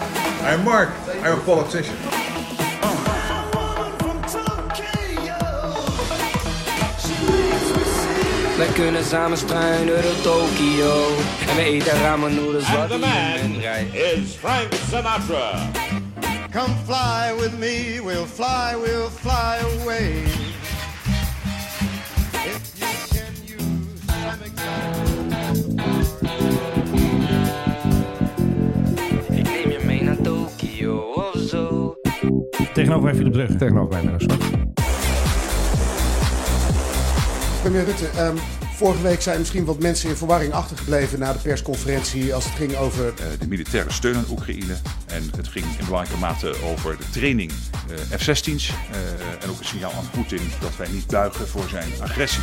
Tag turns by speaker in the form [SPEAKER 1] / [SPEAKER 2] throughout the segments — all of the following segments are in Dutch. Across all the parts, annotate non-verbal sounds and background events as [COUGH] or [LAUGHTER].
[SPEAKER 1] I'm Mark. I'm a politician.
[SPEAKER 2] We kunnen samen struinen door Tokio. En we eten ramen noedels
[SPEAKER 3] And
[SPEAKER 2] wat
[SPEAKER 3] the
[SPEAKER 2] iedereen
[SPEAKER 3] man
[SPEAKER 2] rijdt.
[SPEAKER 3] is Frank Sinatra.
[SPEAKER 4] Come fly with me, we'll fly, we'll fly away. If you can use some exotic
[SPEAKER 2] Ik neem je mee naar Tokio of zo.
[SPEAKER 5] Tegenover mij Philip Drug.
[SPEAKER 6] Tegenover mij Menno Zwart.
[SPEAKER 7] Premier Rutte, ehm, vorige week zijn misschien wat mensen in verwarring achtergebleven na de persconferentie als het ging over eh,
[SPEAKER 8] eh, de militaire steun aan Oekraïne. En het ging in belangrijke mate over de training eh, F-16's. eh, en ook een signaal aan Poetin dat wij niet buigen voor zijn agressie.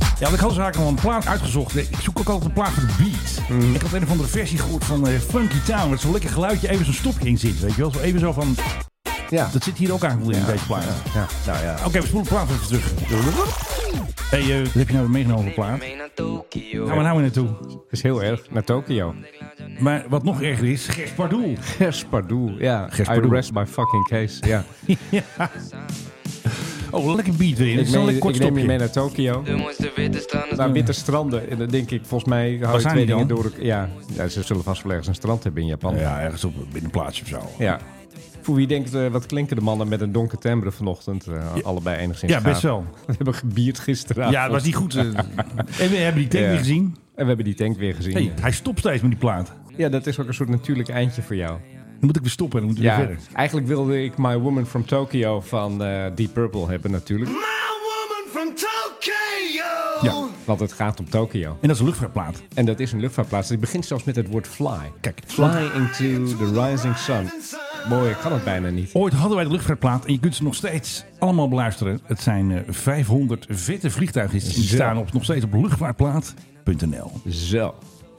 [SPEAKER 5] Ja, want ik had zaken al een plaat uitgezocht. Ik zoek ook altijd een plaat voor de beat.
[SPEAKER 6] Mhm.
[SPEAKER 5] Ik had een of andere versie gehoord van eh, Funky Town. Met zo'n lekker geluidje even zo'n stopje in zit. Weet je wel? Zo even zo van...
[SPEAKER 6] Ja.
[SPEAKER 5] Dat zit hier ook aangevoeld in deze plaat.
[SPEAKER 6] ja, nou ja.
[SPEAKER 5] Oké, we spoelen de plaat even terug. Hey, eh, wat heb je nou meegenomen voor
[SPEAKER 2] Neem je
[SPEAKER 5] plaat?
[SPEAKER 2] mee naar Tokio.
[SPEAKER 5] Gaan we nou weer naartoe?
[SPEAKER 6] Dat is heel erg. Naar Tokio.
[SPEAKER 5] Maar wat nog erger is, Gers Pardoel. Oh,
[SPEAKER 6] Gerspardoel. Ja.
[SPEAKER 5] Gerspardoel.
[SPEAKER 6] I rest my fucking case. Ja.
[SPEAKER 5] ja. Oh, lekker beat weer.
[SPEAKER 6] ik
[SPEAKER 5] Ik,
[SPEAKER 6] neem,
[SPEAKER 5] een
[SPEAKER 6] je-
[SPEAKER 5] kort
[SPEAKER 6] ik neem je
[SPEAKER 5] stopje.
[SPEAKER 6] mee naar Tokio.
[SPEAKER 2] De mooiste witte stranden.
[SPEAKER 6] Naar witte stranden. En dan denk ik, volgens mij hou je
[SPEAKER 5] zijn
[SPEAKER 6] twee
[SPEAKER 5] die
[SPEAKER 6] dingen
[SPEAKER 5] dan?
[SPEAKER 6] door. elk- Ja, ja, ze zullen vast wel ergens een strand hebben in Japan.
[SPEAKER 5] Ja, ergens op in een plaatsje of zo.
[SPEAKER 6] Ja. Voor wie denkt, eh, wat klinken de mannen met een donker timbre vanochtend? eh, Allebei enigszins
[SPEAKER 5] Ja, best
[SPEAKER 6] gaaf.
[SPEAKER 5] wel.
[SPEAKER 6] [LAUGHS] We hebben gebierd gisteravond.
[SPEAKER 5] Ja, het was niet goed.
[SPEAKER 6] [LAUGHS]
[SPEAKER 5] eh. en we hebben die tape
[SPEAKER 6] Ja.
[SPEAKER 5] weer gezien.
[SPEAKER 6] En we hebben die tank weer gezien.
[SPEAKER 5] Hey, hij stopt steeds met die plaat. Dan
[SPEAKER 6] Ja, dat is ook een soort natuurlijk eindje voor jou.
[SPEAKER 5] moet ik weer stoppen en dan moeten we
[SPEAKER 6] Ja,
[SPEAKER 5] weer verder.
[SPEAKER 6] eigenlijk wilde ik My Woman from Tokyo van eh, Deep Purple hebben natuurlijk.
[SPEAKER 5] Nou.
[SPEAKER 4] woman from Tokyo!
[SPEAKER 6] Ja, want het gaat om Tokyo.
[SPEAKER 5] En dat is een luchtvaartplaat.
[SPEAKER 6] En dat is een luchtvaartplaats. Het begint zelfs met het woord fly.
[SPEAKER 5] Kijk,
[SPEAKER 6] Fly into the rising sun. Mooi, ik kan het bijna niet.
[SPEAKER 5] ooit hadden wij de luchtvaartplaat en je kunt ze nog steeds allemaal beluisteren. Het zijn eh, 500 vette vliegtuigen die
[SPEAKER 6] Zo.
[SPEAKER 5] staan op, nog steeds op luchtvaartplaat.nl.
[SPEAKER 6] Zo.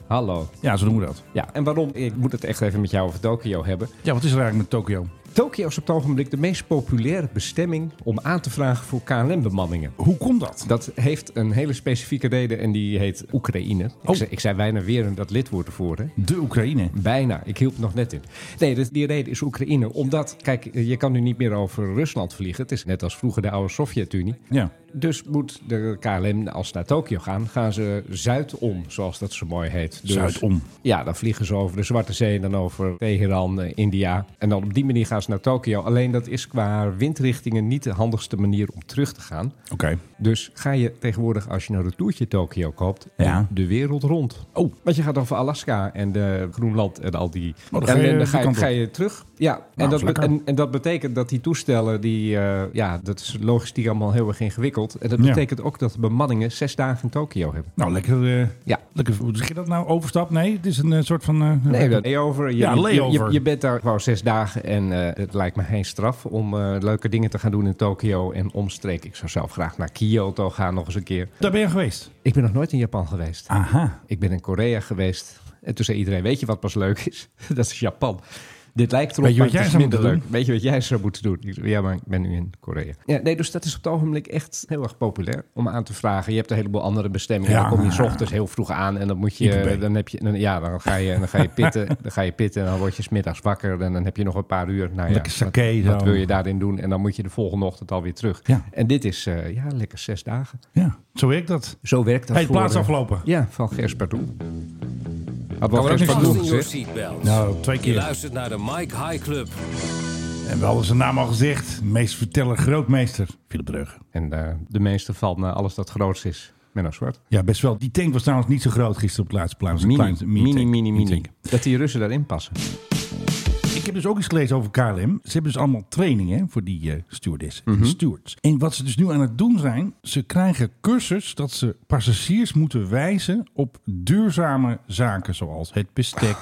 [SPEAKER 6] Hallo.
[SPEAKER 5] Ja, zo doen we dat.
[SPEAKER 6] Ja, en waarom? Ik moet het echt even met jou over Tokio hebben.
[SPEAKER 5] Ja, wat is er eigenlijk met Tokio?
[SPEAKER 6] Tokio is op het ogenblik de meest populaire bestemming om aan te vragen voor KLM-bemanningen.
[SPEAKER 5] Hoe komt dat?
[SPEAKER 6] Dat heeft een hele specifieke reden en die heet Oekraïne.
[SPEAKER 5] Oh.
[SPEAKER 6] Ik, zei, ik zei bijna weer een dat lidwoord ervoor, hè?
[SPEAKER 5] De Oekraïne.
[SPEAKER 6] Bijna, ik hielp nog net in. Nee, dus die reden is Oekraïne. Omdat, kijk, je kan nu niet meer over Rusland vliegen. Het is net als vroeger de oude Sovjet-Unie.
[SPEAKER 5] Ja.
[SPEAKER 6] Dus moet de KLM, als ze naar Tokio gaan, gaan ze zuidom, zoals dat zo mooi heet. Dus,
[SPEAKER 5] Zuidom.
[SPEAKER 6] Ja, dan vliegen ze over de Zwarte Zee, dan over Teheran, eh, India. En dan op die manier gaan ze naar Tokio. Alleen dat is qua windrichtingen niet de handigste manier om terug te gaan.
[SPEAKER 5] Oké.
[SPEAKER 6] Dus ga je tegenwoordig, als je nou een toertje Tokio koopt,
[SPEAKER 5] Ja.
[SPEAKER 6] de wereld rond.
[SPEAKER 5] Oh.
[SPEAKER 6] Want je gaat over Alaska en eh, Groenland en al die...
[SPEAKER 5] dan
[SPEAKER 6] en
[SPEAKER 5] ga je die
[SPEAKER 6] ga, je,
[SPEAKER 5] kant op.
[SPEAKER 6] ga je terug. Ja, en,
[SPEAKER 5] dat
[SPEAKER 6] dat
[SPEAKER 5] is
[SPEAKER 6] be-
[SPEAKER 5] Nou, lekker.
[SPEAKER 6] en, en dat betekent dat die toestellen, die, eh, ja, dat is logistiek allemaal heel erg ingewikkeld. En dat
[SPEAKER 5] Ja.
[SPEAKER 6] betekent ook dat de bemanningen zes dagen in Tokio hebben.
[SPEAKER 5] Nou, lekker. eh,
[SPEAKER 6] Ja.
[SPEAKER 5] lekker. Hoe zeg je dat nou? Overstap? Nee, het is een eh, soort van. eh,
[SPEAKER 6] Nee, dat layover. Je,
[SPEAKER 5] Ja,
[SPEAKER 6] je-
[SPEAKER 5] layover.
[SPEAKER 6] Je, je bent daar gewoon zes dagen en eh, het lijkt me geen straf om eh, leuke dingen te gaan doen in Tokio en omstreek. Ik zou zelf graag naar Kyoto gaan nog eens een keer.
[SPEAKER 5] Daar ben je geweest.
[SPEAKER 6] Ik ben nog nooit in Japan geweest.
[SPEAKER 5] Aha.
[SPEAKER 6] Ik ben in Korea geweest. En toen zei iedereen, weet je wat pas leuk is? [LAUGHS] dat is Japan. Dit lijkt erop,
[SPEAKER 5] Weet je
[SPEAKER 6] maar
[SPEAKER 5] wat
[SPEAKER 6] het
[SPEAKER 5] jij
[SPEAKER 6] is
[SPEAKER 5] zou
[SPEAKER 6] minder
[SPEAKER 5] moeten
[SPEAKER 6] leuk. Weet je wat jij zou moeten doen? Ik zei, ja, maar ik ben nu in Korea. Ja, nee, dus dat is op het ogenblik echt heel erg populair om aan te vragen. Je hebt een heleboel andere bestemmingen.
[SPEAKER 5] Ja.
[SPEAKER 6] Dan kom je 's ochtends heel vroeg aan en dan moet je...
[SPEAKER 5] IPB.
[SPEAKER 6] Dan, heb je dan, ja, dan ga, je, dan, ga je pitten, [LAUGHS] dan ga je pitten en dan word je 's middags wakker. En dan heb je nog een paar uur. Nou ja,
[SPEAKER 5] Lekker sake
[SPEAKER 6] wat, wat
[SPEAKER 5] zo.
[SPEAKER 6] wil je daarin doen? En dan moet je de volgende ochtend alweer terug.
[SPEAKER 5] Ja.
[SPEAKER 6] En dit is, eh, ja, lekker zes dagen.
[SPEAKER 5] Ja, zo werkt dat.
[SPEAKER 6] Zo werkt dat
[SPEAKER 5] Hey,
[SPEAKER 6] voor...
[SPEAKER 5] plaats
[SPEAKER 6] eh,
[SPEAKER 5] aflopen.
[SPEAKER 6] ja, van Gerspardoel. Had wel
[SPEAKER 5] Kan we er ook niks aan
[SPEAKER 6] Gerspardoel
[SPEAKER 5] doen,
[SPEAKER 9] Fasten your
[SPEAKER 6] gezegd.
[SPEAKER 9] seatbelts.
[SPEAKER 5] Nou, twee
[SPEAKER 9] Je
[SPEAKER 5] keer.
[SPEAKER 9] luistert naar de Mike High Club.
[SPEAKER 5] En we hadden zijn naam al gezegd. Meester verteller, grootmeester. Philip Dreugen.
[SPEAKER 6] En eh, de meeste van eh, alles dat grootst is. Menno Zwart.
[SPEAKER 5] Ja, best wel. Die tank was trouwens niet zo groot gisteren op de laatste plaats.
[SPEAKER 6] Mini,
[SPEAKER 5] Klein-
[SPEAKER 6] mini, mini,
[SPEAKER 5] tank.
[SPEAKER 6] mini,
[SPEAKER 5] tank.
[SPEAKER 6] Dat die Russen daarin passen.
[SPEAKER 5] Ik heb dus ook iets gelezen over KLM. Ze hebben dus allemaal training hè, voor die eh, stewardessen en stewards. En wat ze dus nu aan het doen zijn, ze krijgen cursus dat ze passagiers moeten wijzen op duurzame zaken zoals het bestek.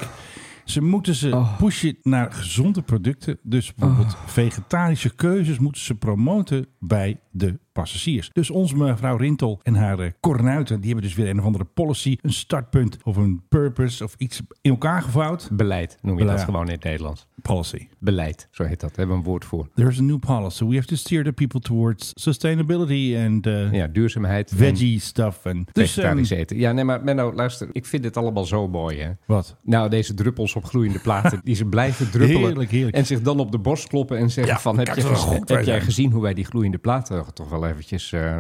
[SPEAKER 5] Ze moeten ze pushen naar gezonde producten. Dus bijvoorbeeld vegetarische keuzes moeten ze promoten bij de passagiers. Dus onze mevrouw Rintel en haar eh, kornuiten, die hebben dus weer een of andere policy, een startpunt of een purpose of iets in elkaar gevouwd.
[SPEAKER 6] Beleid noem je
[SPEAKER 5] Beleid.
[SPEAKER 6] dat gewoon in het Nederlands.
[SPEAKER 5] Policy.
[SPEAKER 6] Beleid, zo heet dat. Daar hebben we een woord voor.
[SPEAKER 5] There's a new policy. We have to steer the people towards sustainability and eh,
[SPEAKER 6] Ja, duurzaamheid. en
[SPEAKER 5] veggie stuff. En, dus ehm,
[SPEAKER 6] Vegetarisch eten. Ja, nee, maar Menno, luister. Ik vind dit allemaal zo mooi, hè.
[SPEAKER 5] wat?
[SPEAKER 6] Nou, deze druppels op gloeiende platen, die ze blijven druppelen.
[SPEAKER 5] Heerlijk, heerlijk.
[SPEAKER 6] En zich dan op de borst kloppen en zeggen
[SPEAKER 5] Ja,
[SPEAKER 6] van... Heb,
[SPEAKER 5] kijk,
[SPEAKER 6] je
[SPEAKER 5] dat is
[SPEAKER 6] gezien-
[SPEAKER 5] goed,
[SPEAKER 6] heb
[SPEAKER 5] wij
[SPEAKER 6] jij
[SPEAKER 5] zijn."
[SPEAKER 6] gezien hoe wij die gloeiende platen toch wel eventjes eh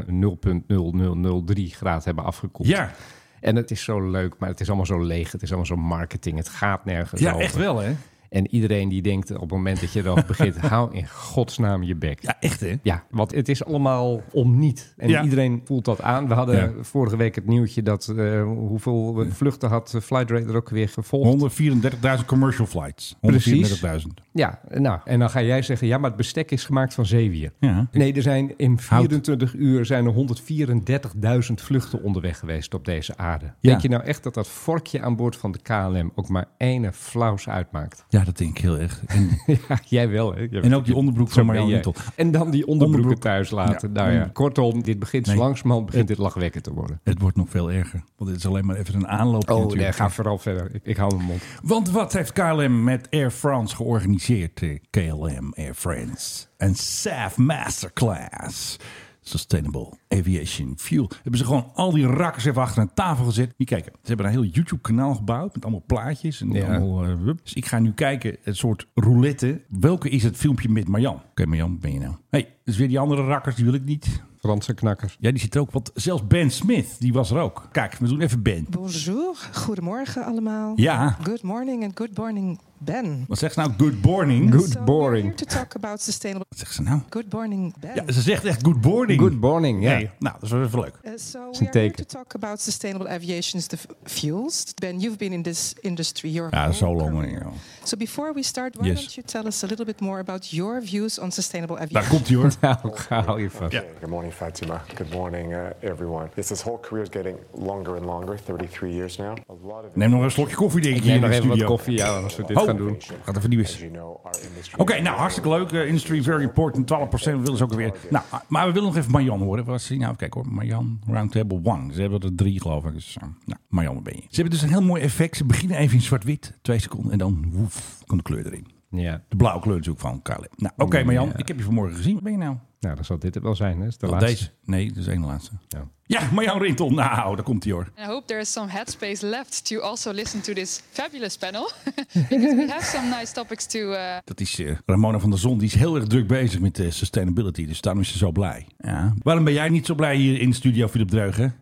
[SPEAKER 6] 0.0003 graad hebben afgekoeld?
[SPEAKER 5] Ja,
[SPEAKER 6] En het is zo leuk, maar het is allemaal zo leeg. Het is allemaal zo marketing. Het gaat nergens
[SPEAKER 5] ja
[SPEAKER 6] over.
[SPEAKER 5] echt wel hè?
[SPEAKER 6] En iedereen die denkt op het moment dat je erover
[SPEAKER 5] [LAUGHS]
[SPEAKER 6] begint... hou in godsnaam je bek.
[SPEAKER 5] Ja, echt hè?
[SPEAKER 6] Ja, want het is allemaal om niet. En
[SPEAKER 5] Ja.
[SPEAKER 6] iedereen voelt dat aan. We hadden
[SPEAKER 5] Ja.
[SPEAKER 6] vorige week het nieuwtje dat eh, hoeveel vluchten had Flightradar ook weer gevolgd.
[SPEAKER 5] 134.000 commercial flights. 134.000.
[SPEAKER 6] Precies. Ja, nou, en dan ga jij zeggen, ja, maar het bestek is gemaakt van zeewier.
[SPEAKER 5] Ja.
[SPEAKER 6] Nee, er zijn in
[SPEAKER 5] Hout.
[SPEAKER 6] 24 uur zijn er 134.000 vluchten onderweg geweest op deze aarde.
[SPEAKER 5] Ja.
[SPEAKER 6] Denk je nou echt dat dat vorkje aan boord van de KLM ook maar ene flauws uitmaakt?
[SPEAKER 5] Ja, dat denk ik heel echt. En,
[SPEAKER 6] [LAUGHS] Ja, jij wel, hè? Jij-
[SPEAKER 5] en ook die onderbroek
[SPEAKER 6] Zo
[SPEAKER 5] van
[SPEAKER 6] ben
[SPEAKER 5] Marjan
[SPEAKER 6] jij.
[SPEAKER 5] Wintel.
[SPEAKER 6] En dan die onderbroeken
[SPEAKER 5] Onderbroek.
[SPEAKER 6] thuis laten.
[SPEAKER 5] Ja.
[SPEAKER 6] Nou ja, kortom, dit begint
[SPEAKER 5] Nee.
[SPEAKER 6] langzamerhand begint dit lachwekkend te worden.
[SPEAKER 5] Het wordt nog veel erger. Want dit is alleen maar even een aanloopje
[SPEAKER 6] Oh, nee,
[SPEAKER 5] natuurlijk.
[SPEAKER 6] ga vooral verder. Ik, ik hou mijn mond.
[SPEAKER 5] Want wat heeft KLM met Air France georganiseerd? eh, KLM Air France. Een SAF Masterclass. Sustainable Aviation Fuel. Hebben ze gewoon al die rakkers even achter een tafel gezet. Niet kijken. Ze hebben een heel YouTube-kanaal gebouwd met allemaal plaatjes. En
[SPEAKER 6] Ja.
[SPEAKER 5] allemaal, eh, wup. dus ik ga nu kijken, het soort roulette. Welke is het filmpje met Marjan? Oké, Marjan, ben je nou? Hé, hey, dus weer die andere rakkers, die wil ik niet.
[SPEAKER 6] Franse knakkers.
[SPEAKER 5] Ja, die zit er ook. Want zelfs Ben Smith, die was er ook. Kijk, we doen even Ben.
[SPEAKER 9] Bonjour, goedemorgen allemaal.
[SPEAKER 5] Ja.
[SPEAKER 9] Good morning and good morning, Ben.
[SPEAKER 5] Wat zegt ze nou? Good morning.
[SPEAKER 6] Good
[SPEAKER 9] So
[SPEAKER 6] boring.
[SPEAKER 9] we're here to talk about sustainable.
[SPEAKER 5] Wat zegt ze nou?
[SPEAKER 9] Good morning, Ben.
[SPEAKER 5] Ja, ze zegt echt good morning.
[SPEAKER 6] Good morning, ja.
[SPEAKER 5] Nee, nou, dat is wel even leuk.
[SPEAKER 9] Uh, so
[SPEAKER 6] is
[SPEAKER 9] we
[SPEAKER 6] een
[SPEAKER 9] are here
[SPEAKER 6] teken.
[SPEAKER 9] to talk about sustainable aviation the f- fuels. Ben, you've been in this industry your
[SPEAKER 5] Ja, dat is zo
[SPEAKER 9] whole
[SPEAKER 5] lang.
[SPEAKER 9] career.
[SPEAKER 5] ja.
[SPEAKER 9] So before we start, why
[SPEAKER 5] Yes.
[SPEAKER 9] don't you tell us a little bit more about your views on sustainable
[SPEAKER 5] Daar
[SPEAKER 9] aviation?
[SPEAKER 5] komt hij hoor.
[SPEAKER 6] [LAUGHS] Nou, ga hou je vast.
[SPEAKER 10] Good morning, Fatima. Good morning, uh, everyone. Yes, this whole career is getting longer and longer, 33 years now. A lot of
[SPEAKER 5] Neem nog een slokje koffie, denk ik.
[SPEAKER 6] Ik neem
[SPEAKER 5] hier
[SPEAKER 6] nog
[SPEAKER 5] in de
[SPEAKER 6] even
[SPEAKER 5] studio.
[SPEAKER 6] wat koffie ja, als we dit
[SPEAKER 5] Oh.
[SPEAKER 6] gaan doen.
[SPEAKER 5] Gaat even niet
[SPEAKER 10] as
[SPEAKER 5] wisten.
[SPEAKER 10] you know, our industry.
[SPEAKER 5] Oké, nou hartstikke leuk. Eh, industry very important. 12% willen ze ook weer. Nou, ah, maar we willen nog even Marjan horen. Was die nou? Kijk hoor, Marjan, Roundtable One. Ze hebben er drie, geloof ik. Dus, eh, nou, Marjan, waar ben je? Ze hebben dus een heel mooi effect. Ze beginnen even in zwart-wit, twee seconden. En dan woef, komt de kleur erin.
[SPEAKER 6] Ja,
[SPEAKER 5] De blauwe kleur natuurlijk van KLM. Nou, oké, Marjan, ik heb je vanmorgen gezien. Waar ben je nou?
[SPEAKER 6] nou, dan zal dit het wel zijn. Hè? Is de
[SPEAKER 5] Oh,
[SPEAKER 6] laatste.
[SPEAKER 5] Deze? Nee, dat is één laatste.
[SPEAKER 6] Ja.
[SPEAKER 5] Ja, Marjan Rintel. Nou, daar komt hij hoor.
[SPEAKER 11] I hope there is some headspace left to also listen to this fabulous panel [LAUGHS] because we have some nice topics to uh,
[SPEAKER 5] Dat is eh, Ramona van der Zon. Die is heel erg druk bezig met eh, sustainability. Dus daarom is ze zo blij. Ja. Waarom ben jij niet zo blij hier in de studio, Philip Dreugen?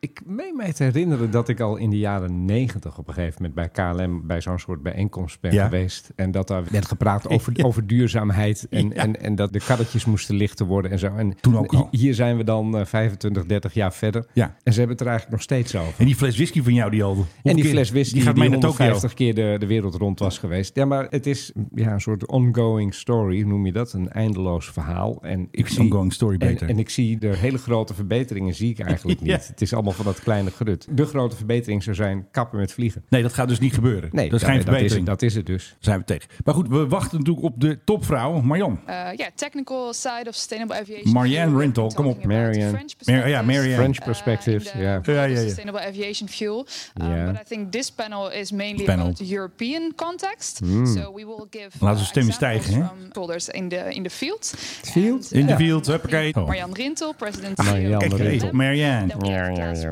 [SPEAKER 6] Ik meen mij te herinneren dat ik al in de jaren negentig op een gegeven moment bij KLM bij zo'n soort bijeenkomst ben
[SPEAKER 5] Ja.
[SPEAKER 6] geweest. En dat daar werd
[SPEAKER 5] [LAUGHS]
[SPEAKER 6] gepraat over, over duurzaamheid en,
[SPEAKER 5] Ja.
[SPEAKER 6] en, en dat de karretjes moesten lichter worden en zo. En
[SPEAKER 5] Toen ook al.
[SPEAKER 6] hi- Hier zijn we dan eh, 25, 30 jaar verder.
[SPEAKER 5] Ja.
[SPEAKER 6] En ze hebben het er eigenlijk nog steeds over.
[SPEAKER 5] En die fles whisky van jou die al... hoeveel
[SPEAKER 6] En die
[SPEAKER 5] keer-
[SPEAKER 6] fles wist die,
[SPEAKER 5] Die gaat
[SPEAKER 6] die
[SPEAKER 5] mij naar Tokio.
[SPEAKER 6] 150 keer de, de wereld rond was geweest. Ja, maar het is ja, een soort ongoing story, noem je dat? Een eindeloos verhaal. En ik zie,
[SPEAKER 5] Ongoing story
[SPEAKER 6] en-
[SPEAKER 5] beter.
[SPEAKER 6] En, ik zie de hele grote verbeteringen zie ik eigenlijk niet.
[SPEAKER 5] [LAUGHS] Ja.
[SPEAKER 6] Het is allemaal van dat kleine gerut. De grote verbetering zou zijn kappen met vliegen.
[SPEAKER 5] Nee, dat gaat dus niet gebeuren.
[SPEAKER 6] Nee,
[SPEAKER 5] dat is geen
[SPEAKER 6] dat, dat, is,
[SPEAKER 5] verbetering.
[SPEAKER 6] het, dat is het dus.
[SPEAKER 5] Daar zijn we tegen. Maar goed, we wachten natuurlijk op de topvrouw, Marjan.
[SPEAKER 11] uh, yeah technical side of sustainable aviation.
[SPEAKER 5] Marianne
[SPEAKER 11] We're
[SPEAKER 5] Rintel,
[SPEAKER 11] talking
[SPEAKER 5] kom op.
[SPEAKER 11] about
[SPEAKER 6] Marianne.
[SPEAKER 11] French
[SPEAKER 5] Mar- ja,
[SPEAKER 11] perspectives,
[SPEAKER 5] Marianne.
[SPEAKER 6] French
[SPEAKER 11] uh,
[SPEAKER 6] perspectives,
[SPEAKER 11] in the
[SPEAKER 6] ja.
[SPEAKER 5] Ja, ja, ja.
[SPEAKER 11] Sustainable aviation fuel. Um,
[SPEAKER 6] Ja. Nou,
[SPEAKER 11] But I think this panel is mainly
[SPEAKER 5] Panel.
[SPEAKER 11] about the European context. So we will give
[SPEAKER 5] Hmm.
[SPEAKER 11] uh,
[SPEAKER 5] Laten we stemmen
[SPEAKER 11] examples
[SPEAKER 5] stijgen, hè?
[SPEAKER 11] from holders in the in the field.
[SPEAKER 6] field?
[SPEAKER 11] And,
[SPEAKER 5] In the
[SPEAKER 11] um,
[SPEAKER 5] field,
[SPEAKER 11] I think
[SPEAKER 5] huppakee. Oh.
[SPEAKER 11] Marianne Rintel, president
[SPEAKER 6] Marianne
[SPEAKER 11] CEO of
[SPEAKER 6] Rintel.
[SPEAKER 11] KLM.
[SPEAKER 5] Marianne.
[SPEAKER 11] Then we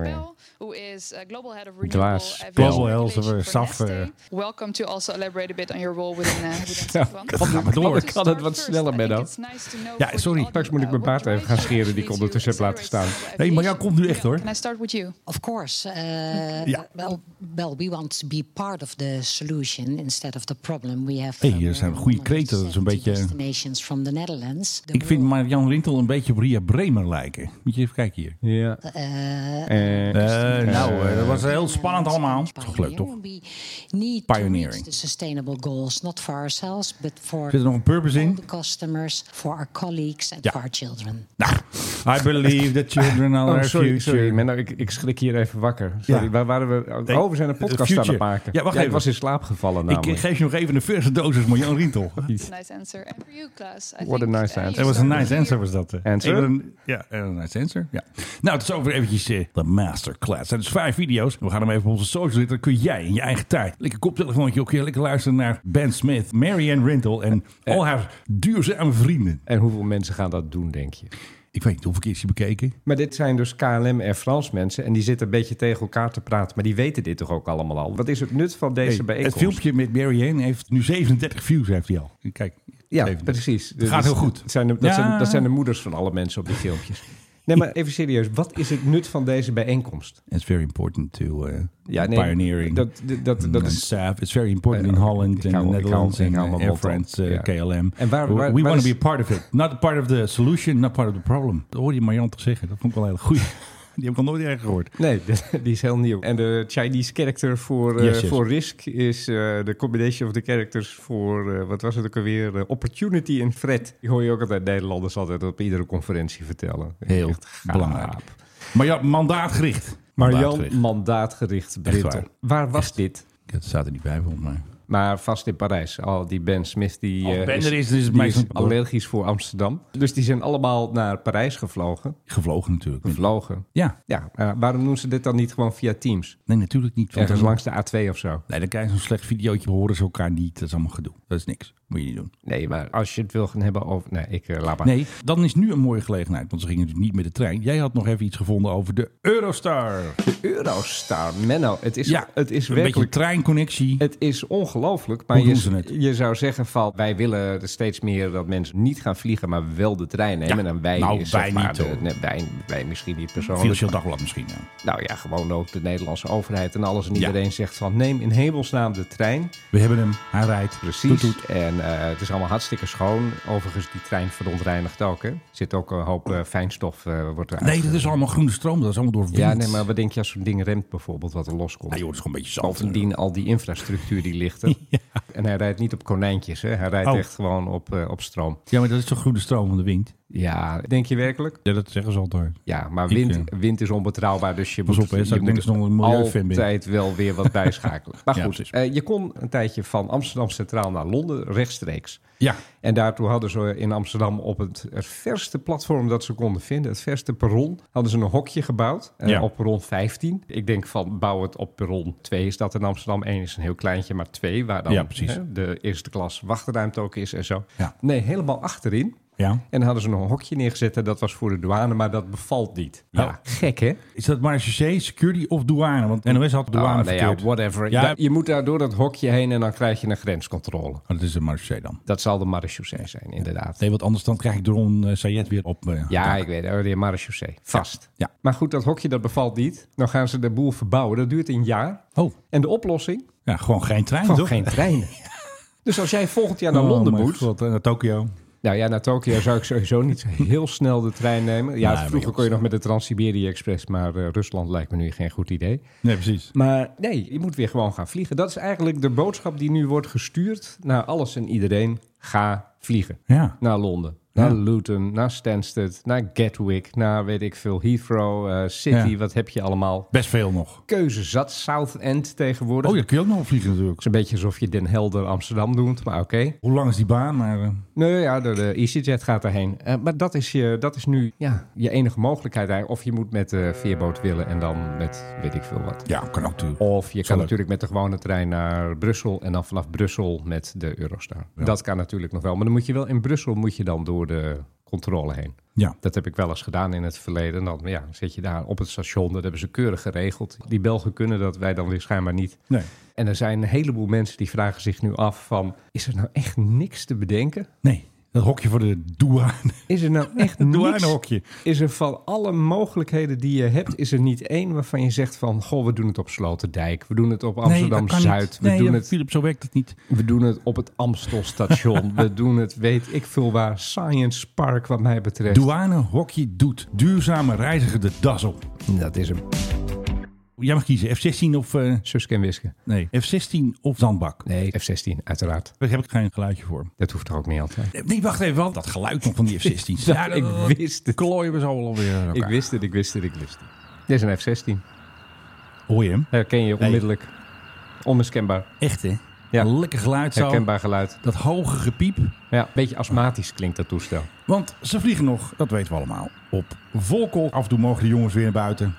[SPEAKER 11] have
[SPEAKER 6] Ja, ja,
[SPEAKER 11] Klaas
[SPEAKER 6] ja,
[SPEAKER 11] Pell,
[SPEAKER 6] ja.
[SPEAKER 11] who is uh, global head of renewable
[SPEAKER 6] Klaas
[SPEAKER 11] aviation
[SPEAKER 6] Pell.
[SPEAKER 5] Global head of,
[SPEAKER 11] regulation
[SPEAKER 5] uh,
[SPEAKER 11] for
[SPEAKER 5] SAF,
[SPEAKER 11] Neste.
[SPEAKER 5] uh,
[SPEAKER 11] Welcome to also elaborate a bit on your role within,
[SPEAKER 5] [LAUGHS]
[SPEAKER 11] uh, within
[SPEAKER 6] Ja,
[SPEAKER 11] Stefan.
[SPEAKER 5] dat gaat maar door.
[SPEAKER 11] To
[SPEAKER 6] Kan het
[SPEAKER 11] start
[SPEAKER 6] wat
[SPEAKER 11] first,
[SPEAKER 6] sneller,
[SPEAKER 11] I think
[SPEAKER 6] Menno?
[SPEAKER 11] it's nice to know
[SPEAKER 5] Ja,
[SPEAKER 11] for the
[SPEAKER 5] sorry.
[SPEAKER 11] audience,
[SPEAKER 6] Straks moet ik mijn
[SPEAKER 11] uh, what
[SPEAKER 6] baard even gaan
[SPEAKER 11] drives you
[SPEAKER 6] scheren die ik
[SPEAKER 11] to
[SPEAKER 6] ondertussen heb laten
[SPEAKER 11] accelerate
[SPEAKER 6] staan.
[SPEAKER 11] sustainable
[SPEAKER 5] Nee, maar jij
[SPEAKER 11] aviation.
[SPEAKER 5] komt nu echt, hoor.
[SPEAKER 11] Can I start with you?
[SPEAKER 12] Of course. Uh,
[SPEAKER 5] Yeah.
[SPEAKER 12] well, well, we want to be part of the solution instead of the problem. We have.
[SPEAKER 5] Hey,
[SPEAKER 12] uh,
[SPEAKER 5] hier zijn goede kreten, dat is een beetje-
[SPEAKER 12] Destinations from the Netherlands. The
[SPEAKER 5] Ik vind
[SPEAKER 12] world,
[SPEAKER 5] Marjan Rintel een beetje op Ria Bremer lijken. Moet je even kijken hier.
[SPEAKER 6] Ja.
[SPEAKER 12] uh,
[SPEAKER 5] Eh,
[SPEAKER 6] Eh,
[SPEAKER 5] nou, eh, dat was heel
[SPEAKER 12] Netherlands
[SPEAKER 5] spannend allemaal.
[SPEAKER 12] and
[SPEAKER 5] Toch leuk, toch?
[SPEAKER 12] pioneering. We need
[SPEAKER 5] Pioneering.
[SPEAKER 12] to reach the sustainable goals, not for ourselves, but for
[SPEAKER 5] Zit er nog een purpose in?
[SPEAKER 12] all the customers, for our colleagues and
[SPEAKER 5] Ja.
[SPEAKER 12] for our children.
[SPEAKER 5] Nou, I believe that children are
[SPEAKER 6] Oh,
[SPEAKER 5] our
[SPEAKER 6] sorry,
[SPEAKER 5] future.
[SPEAKER 6] sorry Menno, ik, ik schrik hier even wakker. Sorry,
[SPEAKER 5] Ja.
[SPEAKER 6] waar waren we? Oh, we zijn een
[SPEAKER 5] The
[SPEAKER 6] podcast aan het
[SPEAKER 5] future.
[SPEAKER 6] maken.
[SPEAKER 5] Ja, wacht
[SPEAKER 6] Ik
[SPEAKER 5] even.
[SPEAKER 6] was in slaap gevallen
[SPEAKER 5] Ik
[SPEAKER 6] namelijk.
[SPEAKER 5] eh, geef je nog even de verse dosis van Jan Rientel.
[SPEAKER 11] That's a nice answer. And for you, Klaus, I
[SPEAKER 6] What a
[SPEAKER 11] think
[SPEAKER 6] nice
[SPEAKER 11] uh, you
[SPEAKER 5] Dat
[SPEAKER 6] answer.
[SPEAKER 5] was een
[SPEAKER 11] started
[SPEAKER 5] nice
[SPEAKER 11] here.
[SPEAKER 5] answer, was dat. eh.
[SPEAKER 6] Answer?
[SPEAKER 5] Even een- ja, een nice answer. Ja. Nou, het is over eventjes eh, de masterclass. Dat is vijf video's. We gaan hem even op onze social zetten. Dan kun jij in je eigen tijd. Lekker koptelefoontje ook eh, lekker luisteren naar Ben Smith, Marianne Rintel en
[SPEAKER 6] Eh.
[SPEAKER 5] al haar duurzame vrienden.
[SPEAKER 6] En hoeveel mensen gaan dat doen, denk je?
[SPEAKER 5] Ik weet niet hoeveel keer is hij bekeken.
[SPEAKER 6] Maar dit zijn dus KLM en Frans mensen. En die zitten een beetje tegen elkaar te praten. Maar die weten dit toch ook allemaal al? Wat is het nut van deze
[SPEAKER 5] Hey,
[SPEAKER 6] bijeenkomst?
[SPEAKER 5] het filmpje met Marianne heeft nu 37 views heeft hij al. Kijk,
[SPEAKER 6] Ja,
[SPEAKER 5] 37.
[SPEAKER 6] precies. Dus
[SPEAKER 5] Het gaat heel goed.
[SPEAKER 6] Dat zijn, de, dat,
[SPEAKER 5] Ja.
[SPEAKER 6] zijn, dat zijn de moeders van alle mensen op die filmpjes. Nee,
[SPEAKER 5] [LAUGHS]
[SPEAKER 6] maar even serieus. Wat is het nut van deze bijeenkomst?
[SPEAKER 5] It's very important to eh,
[SPEAKER 6] Ja, nee,
[SPEAKER 5] pioneering.
[SPEAKER 6] dat- dat- dat
[SPEAKER 5] and-
[SPEAKER 6] is-
[SPEAKER 5] and staff. It's very important in
[SPEAKER 6] Eh,
[SPEAKER 5] Holland
[SPEAKER 6] Mm, ik hou-
[SPEAKER 5] and the
[SPEAKER 6] ik hou-
[SPEAKER 5] Netherlands
[SPEAKER 6] ik
[SPEAKER 5] and
[SPEAKER 6] hou
[SPEAKER 5] uh,
[SPEAKER 6] mijn
[SPEAKER 5] Air
[SPEAKER 6] mond op.
[SPEAKER 5] France, eh,
[SPEAKER 6] Ja.
[SPEAKER 5] KLM. We-
[SPEAKER 6] En waar- waar-
[SPEAKER 5] we
[SPEAKER 6] waar
[SPEAKER 5] want to
[SPEAKER 6] is-
[SPEAKER 5] be part of it. Not part of the solution, not part of the problem. Dat hoorde je Marjan toch zeggen. Dat vond ik wel heel
[SPEAKER 6] [LAUGHS]
[SPEAKER 5] goed. Die heb ik al nooit erg gehoord.
[SPEAKER 6] [LAUGHS] Nee, [LAUGHS] die is heel nieuw. En de Chinese character voor, eh,
[SPEAKER 5] Yes, yes.
[SPEAKER 6] voor Risk is eh, de combination of the characters voor, eh, wat was het ook alweer, Eh, Opportunity en Threat. Die hoor je ook altijd Nederlanders altijd op iedere conferentie vertellen.
[SPEAKER 5] Heel
[SPEAKER 6] gaaf.
[SPEAKER 5] belangrijk. Maar ja, mandaatgericht.
[SPEAKER 6] Marjan,
[SPEAKER 5] Mandaatgericht.
[SPEAKER 6] mandaatgericht
[SPEAKER 5] Echt
[SPEAKER 6] Brittel.
[SPEAKER 5] waar.
[SPEAKER 6] Waar was dit?
[SPEAKER 5] Dat staat er niet bij volgens mij.
[SPEAKER 6] Maar vast in Parijs. Al die Ben Smith, die,
[SPEAKER 5] Al
[SPEAKER 6] eh,
[SPEAKER 5] Ben er is, dus
[SPEAKER 6] die
[SPEAKER 5] het meest-
[SPEAKER 6] allergisch voor Amsterdam. Dus die zijn allemaal naar Parijs gevlogen.
[SPEAKER 5] Gevlogen natuurlijk.
[SPEAKER 6] Gevlogen.
[SPEAKER 5] Ja.
[SPEAKER 6] Ja, maar waarom doen ze dit dan niet gewoon via Teams?
[SPEAKER 5] Nee, natuurlijk niet. want
[SPEAKER 6] Ergens
[SPEAKER 5] dan-
[SPEAKER 6] langs de A2 of zo.
[SPEAKER 5] Nee, dan krijg je zo'n slecht videootje. We horen ze elkaar niet. Dat is allemaal gedoe. Dat is niks. Moet je niet doen.
[SPEAKER 6] Nee, maar als je het wil gaan hebben over... Nee, ik eh, laat maar.
[SPEAKER 5] Nee, dan is nu een mooie gelegenheid. Want ze gingen dus niet met de trein. Jij had nog even iets gevonden over de Eurostar.
[SPEAKER 6] Eurostar, Menno. Het is,
[SPEAKER 5] Ja,
[SPEAKER 6] het is
[SPEAKER 5] een
[SPEAKER 6] werkelijk...
[SPEAKER 5] beetje treinconnectie.
[SPEAKER 6] Het is ongelooflijk. Maar
[SPEAKER 5] Hoe
[SPEAKER 6] je,
[SPEAKER 5] doen ze het?
[SPEAKER 6] je zou zeggen van... Wij willen steeds meer dat mensen niet gaan vliegen... maar wel de trein nemen. en dan wij
[SPEAKER 5] nou,
[SPEAKER 6] is, zeg
[SPEAKER 5] wij
[SPEAKER 6] maar,
[SPEAKER 5] niet,
[SPEAKER 6] de-
[SPEAKER 5] hoor.
[SPEAKER 6] nee, wij, wij misschien niet persoonlijk.
[SPEAKER 5] Financieel dagblad misschien. Ja.
[SPEAKER 6] Nou ja, gewoon ook de Nederlandse overheid en alles en iedereen zegt van neem in hemelsnaam de trein.
[SPEAKER 5] We hebben hem. Hij rijdt. Toet,
[SPEAKER 6] Precies.
[SPEAKER 5] toet.
[SPEAKER 6] En eh, het is allemaal hartstikke schoon. Overigens, die trein verontreinigt ook. Hè? Er zit ook een hoop eh, fijnstof. eh, wordt eruit
[SPEAKER 5] Nee, dat is allemaal groene stroom. Dat is allemaal door wind.
[SPEAKER 6] Ja, nee, maar wat denk je als zo'n ding remt bijvoorbeeld, wat er loskomt?
[SPEAKER 5] Ah, joh, dat is gewoon een beetje zand.
[SPEAKER 6] Bovendien al die infrastructuur die
[SPEAKER 5] [LAUGHS]
[SPEAKER 6] ligt er. [LAUGHS] En hij rijdt niet op konijntjes, hè? hij rijdt
[SPEAKER 5] Oh.
[SPEAKER 6] echt gewoon op, eh, op stroom.
[SPEAKER 5] Ja, maar dat is toch groene stroom van de wind?
[SPEAKER 6] Ja, denk je werkelijk?
[SPEAKER 5] Ja, dat zeggen ze altijd.
[SPEAKER 6] Ja, maar
[SPEAKER 5] Ik,
[SPEAKER 6] wind,
[SPEAKER 5] eh,
[SPEAKER 6] wind is onbetrouwbaar, dus je
[SPEAKER 5] Pas
[SPEAKER 6] moet,
[SPEAKER 5] op, hè, zou
[SPEAKER 6] je
[SPEAKER 5] ik denken dat ik nog een milieufan ben.
[SPEAKER 6] altijd [LAUGHS] wel weer wat bijschakelen.
[SPEAKER 5] [LAUGHS]
[SPEAKER 6] Maar
[SPEAKER 5] Ja,
[SPEAKER 6] goed,
[SPEAKER 5] precies.
[SPEAKER 6] eh, je kon een tijdje van Amsterdam Centraal naar Londen rechtstreeks.
[SPEAKER 5] Ja,
[SPEAKER 6] En daartoe hadden ze in Amsterdam op het, het verste platform dat ze konden vinden, het verste perron, hadden ze een hokje gebouwd eh,
[SPEAKER 5] Ja.
[SPEAKER 6] op perron 15. Ik denk van bouw het op perron 2 is dat in Amsterdam. 1 is een heel kleintje, maar 2 waar dan
[SPEAKER 5] Ja, precies.
[SPEAKER 6] hè, de eerste klas wachtruimte ook is en zo.
[SPEAKER 5] Ja.
[SPEAKER 6] Nee, helemaal achterin.
[SPEAKER 5] ja.
[SPEAKER 6] En dan hadden ze nog een hokje neergezet en dat was voor de douane, maar dat bevalt niet. Ja,
[SPEAKER 5] Oh.
[SPEAKER 6] gek hè?
[SPEAKER 5] Is dat marechaussee, security of douane? Want NOS had douane
[SPEAKER 6] Oh, nou ja,
[SPEAKER 5] verkeerd.
[SPEAKER 6] whatever.
[SPEAKER 5] Ja.
[SPEAKER 6] Da- Je moet daar door dat hokje heen en dan krijg je een grenscontrole.
[SPEAKER 5] Oh, dat is de marechaussee dan.
[SPEAKER 6] Dat zal de marechaussee zijn, inderdaad.
[SPEAKER 5] Nee, want anders dan krijg ik Ron eh, Sayed weer op. eh,
[SPEAKER 6] Ja,
[SPEAKER 5] dak.
[SPEAKER 6] ik weet het. De marechaussee. Vast.
[SPEAKER 5] Ja.
[SPEAKER 6] Maar goed, dat hokje dat bevalt niet. Dan gaan ze de boel verbouwen. Dat duurt een jaar.
[SPEAKER 5] Oh,
[SPEAKER 6] En de oplossing?
[SPEAKER 5] ja, gewoon geen trein,
[SPEAKER 6] Gewoon
[SPEAKER 5] toch?
[SPEAKER 6] geen [LAUGHS] treinen. Dus als jij volgend jaar naar
[SPEAKER 5] Oh,
[SPEAKER 6] Londen
[SPEAKER 5] mijn
[SPEAKER 6] moet...
[SPEAKER 5] God, en naar Tokio.
[SPEAKER 6] Nou ja, naar Tokio zou ik sowieso niet [LAUGHS] zo heel snel de trein nemen. Ja,
[SPEAKER 5] Nee, maar
[SPEAKER 6] vroeger kon
[SPEAKER 5] jongens.
[SPEAKER 6] je nog met de Trans-Siberië Express. Maar eh, Rusland lijkt me nu geen goed idee.
[SPEAKER 5] Nee, precies.
[SPEAKER 6] Maar nee, je moet weer gewoon gaan vliegen. Dat is eigenlijk de boodschap die nu wordt gestuurd naar alles en iedereen. Ga vliegen.
[SPEAKER 5] Ja.
[SPEAKER 6] Naar Londen,
[SPEAKER 5] Ja.
[SPEAKER 6] naar Luton, naar Stansted, naar Gatwick, naar weet ik veel, Heathrow, eh, City,
[SPEAKER 5] Ja.
[SPEAKER 6] wat heb je allemaal.
[SPEAKER 5] Best veel nog.
[SPEAKER 6] Keuze zat, Southend tegenwoordig.
[SPEAKER 5] Oh,
[SPEAKER 6] Het
[SPEAKER 5] ja, kun je ook nog vliegen natuurlijk.
[SPEAKER 6] is een beetje alsof je Den Helder Amsterdam doet, maar oké.
[SPEAKER 5] Hoe lang is die baan? Maar, eh,
[SPEAKER 6] Nou ja, de, de EasyJet gaat daarheen. Eh, maar dat is, je, dat is nu ja, je enige mogelijkheid eigenlijk. Of je moet met de veerboot willen en dan met weet ik veel wat.
[SPEAKER 5] ja, kan ook natuurlijk.
[SPEAKER 6] Of je kan
[SPEAKER 5] leuk.
[SPEAKER 6] natuurlijk met de gewone trein naar Brussel en dan vanaf Brussel met de Eurostar.
[SPEAKER 5] Ja.
[SPEAKER 6] Dat kan natuurlijk nog wel. Maar dan moet je wel in Brussel moet je dan door de controle heen.
[SPEAKER 5] Ja.
[SPEAKER 6] Dat heb ik wel eens gedaan in het verleden. En dan ja, zit je daar op het station. Dat hebben ze keurig geregeld. Die Belgen kunnen dat, wij dan weer schijnbaar niet.
[SPEAKER 5] Nee.
[SPEAKER 6] En er zijn een heleboel mensen die vragen zich nu af van... is er nou echt niks te bedenken?
[SPEAKER 5] Nee, dat hokje voor de douane.
[SPEAKER 6] Is er nou
[SPEAKER 5] [LAUGHS]
[SPEAKER 6] echt
[SPEAKER 5] Het
[SPEAKER 6] niks?
[SPEAKER 5] douanehokje.
[SPEAKER 6] Is er van alle mogelijkheden die je hebt... is er niet één waarvan je zegt van... goh, we doen het op Sloterdijk. We doen het op Amsterdam-Zuid. we,
[SPEAKER 5] Nee,
[SPEAKER 6] doen
[SPEAKER 5] ja,
[SPEAKER 6] het,
[SPEAKER 5] Philip, zo werkt het niet.
[SPEAKER 6] we doen het op het
[SPEAKER 5] [LAUGHS]
[SPEAKER 6] Amstelstation. we doen het, weet ik veel waar, Science Park wat mij betreft.
[SPEAKER 5] Douane hokje doet duurzame reiziger de das op.
[SPEAKER 6] Dat is hem.
[SPEAKER 5] Jij mag kiezen. F-16 of... eh
[SPEAKER 6] Suske en Wiske.
[SPEAKER 5] Nee, F-16 of Zandbak.
[SPEAKER 6] Nee, F-16, uiteraard.
[SPEAKER 5] Daar heb ik geen geluidje voor.
[SPEAKER 6] Dat hoeft toch ook niet altijd.
[SPEAKER 5] Nee, wacht even, want dat geluid nog van die
[SPEAKER 6] [LAUGHS]
[SPEAKER 5] F-16.
[SPEAKER 6] Ja, ik wist
[SPEAKER 5] het. Klooien we zo alweer aan
[SPEAKER 6] Ik
[SPEAKER 5] elkaar.
[SPEAKER 6] wist het, ik wist het, ik wist het. Dit is een F-16.
[SPEAKER 5] Hoor je hem?
[SPEAKER 6] Herken je onmiddellijk. Onmiskenbaar.
[SPEAKER 5] Echt, hè?
[SPEAKER 6] Ja.
[SPEAKER 5] Lekker geluid zo.
[SPEAKER 6] Herkenbaar geluid.
[SPEAKER 5] Dat hoge gepiep.
[SPEAKER 6] Ja, een beetje astmatisch klinkt dat toestel.
[SPEAKER 5] Want ze vliegen nog, dat weten we allemaal, op volkol. Af en toe mogen de jongens weer naar buiten.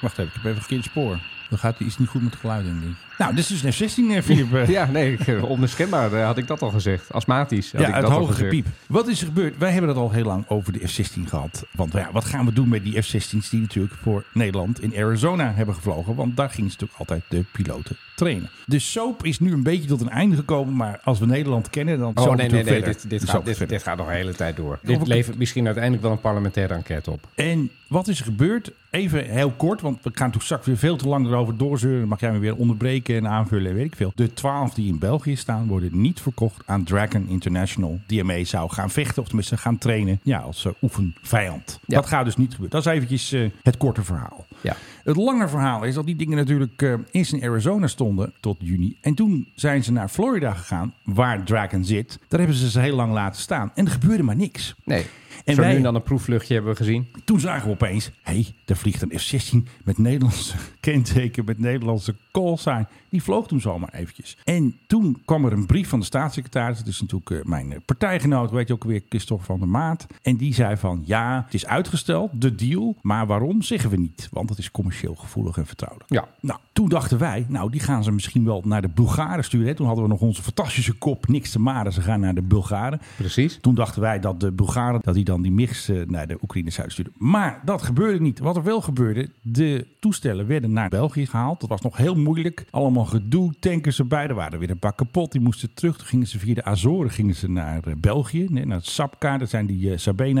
[SPEAKER 5] Wacht even, ik heb even verkeerd spoor. Dan gaat er iets niet goed met het geluid in. denk ik. Nou, dit is dus een F-16, eh, [LAUGHS] Filip. Eh,
[SPEAKER 6] [LAUGHS] Ja, nee, [LAUGHS] ik- onmiskenbaar eh, had ik dat al gezegd. Astmatisch had
[SPEAKER 5] Ja,
[SPEAKER 6] ik
[SPEAKER 5] het
[SPEAKER 6] dat al
[SPEAKER 5] hoge
[SPEAKER 6] gezegd.
[SPEAKER 5] gepiep. Wat is er gebeurd? Wij hebben het al heel lang over de F-16 gehad. Want nou ja, wat gaan we doen met die F-16's die natuurlijk voor Nederland in Arizona hebben gevlogen? Want daar gingen ze natuurlijk altijd de piloten trainen. De soap is nu een beetje tot een einde gekomen. Maar als we Nederland kennen, dan
[SPEAKER 6] Oh
[SPEAKER 5] soap
[SPEAKER 6] nee, nee,
[SPEAKER 5] natuurlijk
[SPEAKER 6] nee.
[SPEAKER 5] verder.
[SPEAKER 6] Dit, dit,
[SPEAKER 5] De
[SPEAKER 6] gaat,
[SPEAKER 5] soap
[SPEAKER 6] dit,
[SPEAKER 5] verder.
[SPEAKER 6] dit gaat nog de hele tijd door.
[SPEAKER 5] Of
[SPEAKER 6] Dit
[SPEAKER 5] ik-
[SPEAKER 6] levert misschien uiteindelijk wel een parlementaire enquête op.
[SPEAKER 5] En wat is er gebeurd? Even heel kort, want we gaan toen straks weer veel te lang erover doorzeuren. Dan mag jij me weer onderbreken en aanvullen en weet ik veel. De twaalf die in België staan worden niet verkocht aan Dragon International. Die ermee zou gaan vechten of tenminste gaan trainen. Ja, als eh, oefenvijand.
[SPEAKER 6] Ja.
[SPEAKER 5] Dat gaat dus niet gebeuren. Dat is eventjes eh, het korte verhaal.
[SPEAKER 6] Ja.
[SPEAKER 5] Het lange verhaal is dat die dingen natuurlijk eh, eerst in Arizona stonden tot juni. En toen zijn ze naar Florida gegaan, waar Dragon zit. Daar hebben ze ze heel lang laten staan. En er gebeurde maar niks.
[SPEAKER 6] Nee.
[SPEAKER 5] En
[SPEAKER 6] En Zo
[SPEAKER 5] wij-
[SPEAKER 6] nu en dan een proefvluchtje hebben we gezien.
[SPEAKER 5] Toen zagen we opeens, hé, hey, daar vliegt een F-16 met Nederlandse [LAUGHS] kenteken, met Nederlandse callsign. Die vloog toen zomaar eventjes. En toen kwam er een brief van de staatssecretaris, dat is natuurlijk eh, mijn eh, partijgenoot, weet je ook weer, Christophe van der Maat. En die zei van, ja, het is uitgesteld, de deal, maar waarom zeggen we niet? Want het is commercieel gevoelig en vertrouwelijk.
[SPEAKER 6] Ja.
[SPEAKER 5] Nou, toen dachten wij, nou, die gaan ze misschien wel naar de Bulgaren sturen. hè. Toen hadden we nog onze fantastische kop, niks te maren, ze gaan naar de Bulgaren.
[SPEAKER 6] Precies.
[SPEAKER 5] Toen dachten wij dat de Bulgaren dat die dan die MIGs eh, naar de Oekraïne zouden sturen. Maar dat gebeurde niet. Wat er wel gebeurde, de toestellen werden naar België gehaald. Dat was nog heel moeilijk. Allemaal gedoe, tankers erbij. Er waren er weer een paar kapot. Die moesten terug. Toen gingen ze via de Azoren gingen ze naar eh, België, nee, naar Sapka. Dat zijn die eh,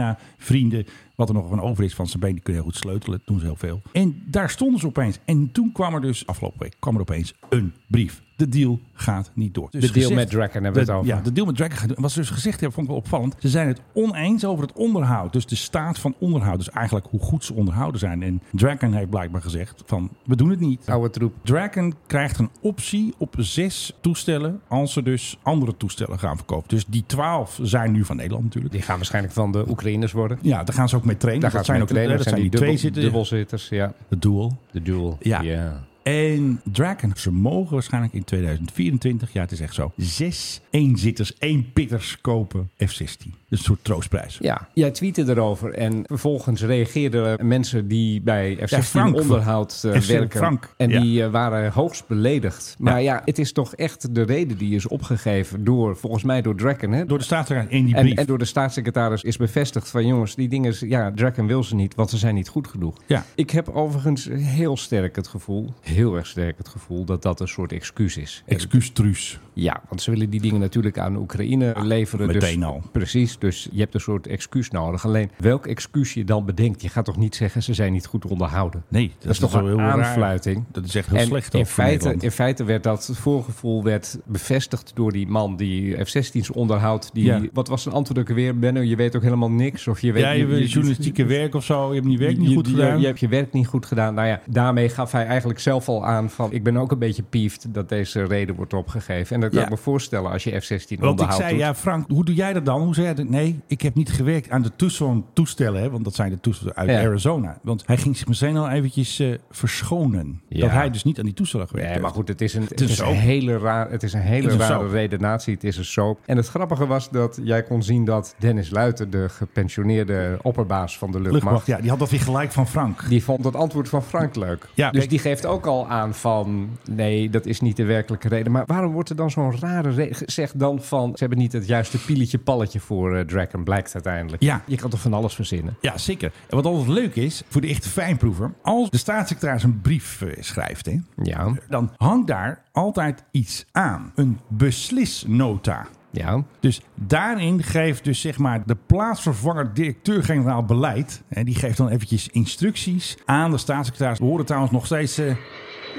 [SPEAKER 5] Sabena-vrienden. Wat er nog van over is van Sabena, die kunnen heel goed sleutelen. Dat doen ze heel veel. En daar stonden ze opeens. En toen kwam er dus, afgelopen week, kwam er opeens een brief. De deal gaat niet door. Dus
[SPEAKER 6] De deal
[SPEAKER 5] gezegd-
[SPEAKER 6] met Dragon hebben we
[SPEAKER 5] de-
[SPEAKER 6] het over.
[SPEAKER 5] Ja, de deal met Dragon gaat doen. En Wat ze dus gezegd hebben, vond ik wel opvallend. Ze zijn het oneens over het onderhoud. Dus de staat van onderhoud. Dus eigenlijk hoe goed ze onderhouden zijn. En Dragon heeft blijkbaar gezegd van, we doen het niet. Nou,
[SPEAKER 6] Oude troep.
[SPEAKER 5] Dragon krijgt een optie op zes toestellen als ze dus andere toestellen gaan verkopen. Dus die twaalf zijn nu van Nederland natuurlijk.
[SPEAKER 6] Die gaan waarschijnlijk van de Oekraïners worden.
[SPEAKER 5] Ja, daar gaan ze ook mee trainen.
[SPEAKER 6] Daar
[SPEAKER 5] dat
[SPEAKER 6] gaat
[SPEAKER 5] zijn ook
[SPEAKER 6] ook trainen.
[SPEAKER 5] dat zijn die
[SPEAKER 6] dubbel,
[SPEAKER 5] twee zitten.
[SPEAKER 6] dubbelzitters. Ja.
[SPEAKER 5] Het duel.
[SPEAKER 6] De duel.
[SPEAKER 5] Ja. En Draken, ze mogen waarschijnlijk in 2024, ja het is echt zo, zes eenzitters, één pitters kopen F-16. Dus een soort troostprijs.
[SPEAKER 6] Ja, jij tweette erover en vervolgens reageerden mensen die bij F-16
[SPEAKER 5] Frank.
[SPEAKER 6] onderhoud eh,
[SPEAKER 5] F16
[SPEAKER 6] werken.
[SPEAKER 5] Frank,
[SPEAKER 6] En
[SPEAKER 5] ja.
[SPEAKER 6] die eh, waren hoogst beledigd. Maar ja. het is toch echt de reden die is opgegeven door, volgens mij door Draken. Hè?
[SPEAKER 5] Door de staatssecretaris in die
[SPEAKER 6] en,
[SPEAKER 5] brief.
[SPEAKER 6] en door de staatssecretaris is bevestigd van jongens, die dingen, ja, Draken wil ze niet, want ze zijn niet goed genoeg.
[SPEAKER 5] Ja.
[SPEAKER 6] Ik heb overigens heel sterk het gevoel, heel erg sterk het gevoel, dat dat een soort excuus is.
[SPEAKER 5] Excuus truus.
[SPEAKER 6] Ja, want ze willen die dingen natuurlijk aan Oekraïne leveren.
[SPEAKER 5] meteen
[SPEAKER 6] dus,
[SPEAKER 5] al.
[SPEAKER 6] Precies, dus je hebt een soort excuus nodig. Alleen, welk excuus je dan bedenkt, je gaat toch niet zeggen ze zijn niet goed onderhouden?
[SPEAKER 5] Nee, dat,
[SPEAKER 6] Dat is toch
[SPEAKER 5] wel
[SPEAKER 6] een
[SPEAKER 5] heel raar.
[SPEAKER 6] aanfluiting.
[SPEAKER 5] Dat is echt heel
[SPEAKER 6] en
[SPEAKER 5] slecht ook
[SPEAKER 6] in
[SPEAKER 5] voor
[SPEAKER 6] feite,
[SPEAKER 5] Nederland.
[SPEAKER 6] in feite werd dat voorgevoel werd bevestigd door die man die F-16's onderhoudt. Die,
[SPEAKER 5] Ja.
[SPEAKER 6] Wat was zijn antwoord ook weer, Benno? Je weet ook helemaal niks. Of je weet
[SPEAKER 5] ja, je, wil eh, journalistieke werk of zo, je hebt je werk niet
[SPEAKER 6] je-
[SPEAKER 5] goed
[SPEAKER 6] je-
[SPEAKER 5] gedaan.
[SPEAKER 6] Je hebt je werk niet goed gedaan. Nou ja, daarmee gaf hij eigenlijk zelf al aan van... ik ben ook een beetje piefd dat deze reden wordt opgegeven. En dat kan
[SPEAKER 5] Ja.
[SPEAKER 6] ik me voorstellen als je F-16
[SPEAKER 5] Want ik
[SPEAKER 6] onderhoudt.
[SPEAKER 5] zei, ja Frank, hoe doe jij dat dan? Hoe zei hij dat? Nee, ik heb niet gewerkt aan de Tucson toestellen. Hè, want dat zijn de toestellen uit
[SPEAKER 6] Ja.
[SPEAKER 5] Arizona. Want hij ging zich meteen al eventjes eh, verschonen.
[SPEAKER 6] Ja.
[SPEAKER 5] Dat hij dus niet aan die toestellen gewerkt
[SPEAKER 6] Nee, maar
[SPEAKER 5] heeft.
[SPEAKER 6] goed, het is een, het
[SPEAKER 5] is
[SPEAKER 6] is een
[SPEAKER 5] soap.
[SPEAKER 6] hele, raar, het is een hele
[SPEAKER 5] Het is een
[SPEAKER 6] rare
[SPEAKER 5] soap.
[SPEAKER 6] redenatie. Het is een soap. En het grappige was dat jij kon zien dat Dennis Luiten... de gepensioneerde opperbaas van de
[SPEAKER 5] Luchtmacht,
[SPEAKER 6] luchtmacht...
[SPEAKER 5] ja, die had dat weer gelijk van Frank.
[SPEAKER 6] die vond het antwoord van Frank leuk.
[SPEAKER 5] Ja,
[SPEAKER 6] dus
[SPEAKER 5] kijk-
[SPEAKER 6] die geeft ook al aan van... nee, dat is niet de werkelijke reden. Maar waarom wordt er dan zo'n rare reden... zeg dan van... ze hebben niet het juiste pieletje palletje voor eh Draken... blijkt uiteindelijk.
[SPEAKER 5] Ja.
[SPEAKER 6] Je kan toch van alles verzinnen?
[SPEAKER 5] Ja, zeker. En wat altijd leuk is, voor de echte fijnproever... als de staatssecretaris een brief eh, schrijft... Hè,
[SPEAKER 6] Ja,
[SPEAKER 5] dan hangt daar altijd iets aan. Een beslisnota.
[SPEAKER 6] ja.
[SPEAKER 5] Dus daarin geeft dus zeg maar de plaatsvervanger directeur-generaal beleid. En die geeft dan eventjes instructies aan de staatssecretaris. We horen trouwens nog steeds... eh,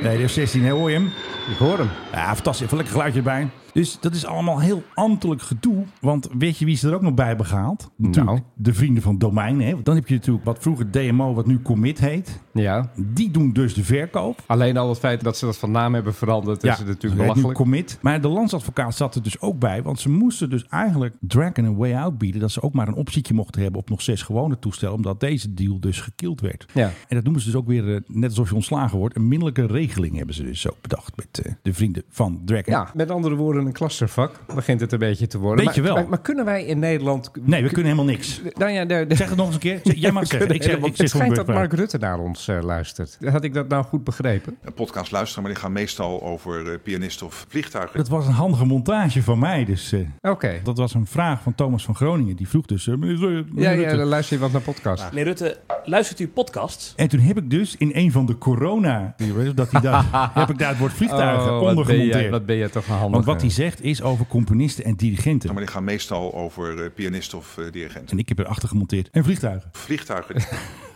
[SPEAKER 5] nee, de F-16, hè, hoor je hem?
[SPEAKER 6] Ik hoor hem.
[SPEAKER 5] Ja, fantastisch. Even lekker geluidje erbij. Dus dat is allemaal heel ambtelijk gedoe. Want weet je wie ze er ook nog bij hebben gehaald? Natuurlijk
[SPEAKER 6] Nou.
[SPEAKER 5] de vrienden van domeinen. Hè? Want Dan heb je natuurlijk wat vroeger DMO, wat nu Commit heet.
[SPEAKER 6] Ja.
[SPEAKER 5] Die doen dus de verkoop.
[SPEAKER 6] Alleen al het feit dat ze dat van naam hebben veranderd, is het
[SPEAKER 5] dus
[SPEAKER 6] natuurlijk
[SPEAKER 5] hij heet nu
[SPEAKER 6] belachelijk.
[SPEAKER 5] Commit. Maar de landsadvocaat zat er dus ook bij. Want ze moesten dus eigenlijk Dragon een way out bieden. Dat ze ook maar een optietje mochten hebben op nog zes gewone toestellen. Omdat deze deal dus gekild werd.
[SPEAKER 6] Ja.
[SPEAKER 5] En dat noemen ze dus ook weer, eh, net alsof je ontslagen wordt, een middelijke regeling hebben ze dus zo bedacht met eh, de vrienden van Dragon.
[SPEAKER 6] Ja, met andere woorden, een klasservak begint het een beetje te worden.
[SPEAKER 5] Weet je
[SPEAKER 6] Maar-
[SPEAKER 5] wel.
[SPEAKER 6] Maar, maar kunnen wij in Nederland...
[SPEAKER 5] Nee, we kunnen helemaal niks.
[SPEAKER 6] Nou ja, de,
[SPEAKER 5] Zeg het nog eens een keer. Zeg- Jij
[SPEAKER 6] [LAUGHS]
[SPEAKER 5] mag zeggen. Ik zeg, ik zeg
[SPEAKER 6] het schijnt dat
[SPEAKER 5] gewoon
[SPEAKER 6] Mark Rutte naar ons eh, luistert. Had ik dat nou goed begrepen?
[SPEAKER 8] Een podcast luisteren, maar die gaan meestal over eh, pianisten of vliegtuigen.
[SPEAKER 5] Dat was een handige montage van mij. Dus, eh,
[SPEAKER 6] Oké.
[SPEAKER 5] Dat was een vraag van Thomas van Groningen. Die vroeg dus... eh, meneer, eh, meneer
[SPEAKER 6] Ja, ja,
[SPEAKER 5] Rutte.
[SPEAKER 6] dan luister je wat naar podcast.
[SPEAKER 13] Meneer Rutte, luistert u podcasts?
[SPEAKER 5] En toen heb ik dus in een van de corona dat hij daar,
[SPEAKER 6] [LAUGHS]
[SPEAKER 5] heb ik daar het woord vliegtuigen
[SPEAKER 6] Oh, wat ben,
[SPEAKER 5] ondergemonteerd.
[SPEAKER 6] jij, wat ben jij toch een handige.
[SPEAKER 5] Want wat hij zegt is over componisten en dirigenten.
[SPEAKER 8] Maar die gaan meestal over eh, pianisten of eh, dirigenten.
[SPEAKER 5] En ik heb erachter gemonteerd. En vliegtuigen.
[SPEAKER 8] Vliegtuigen.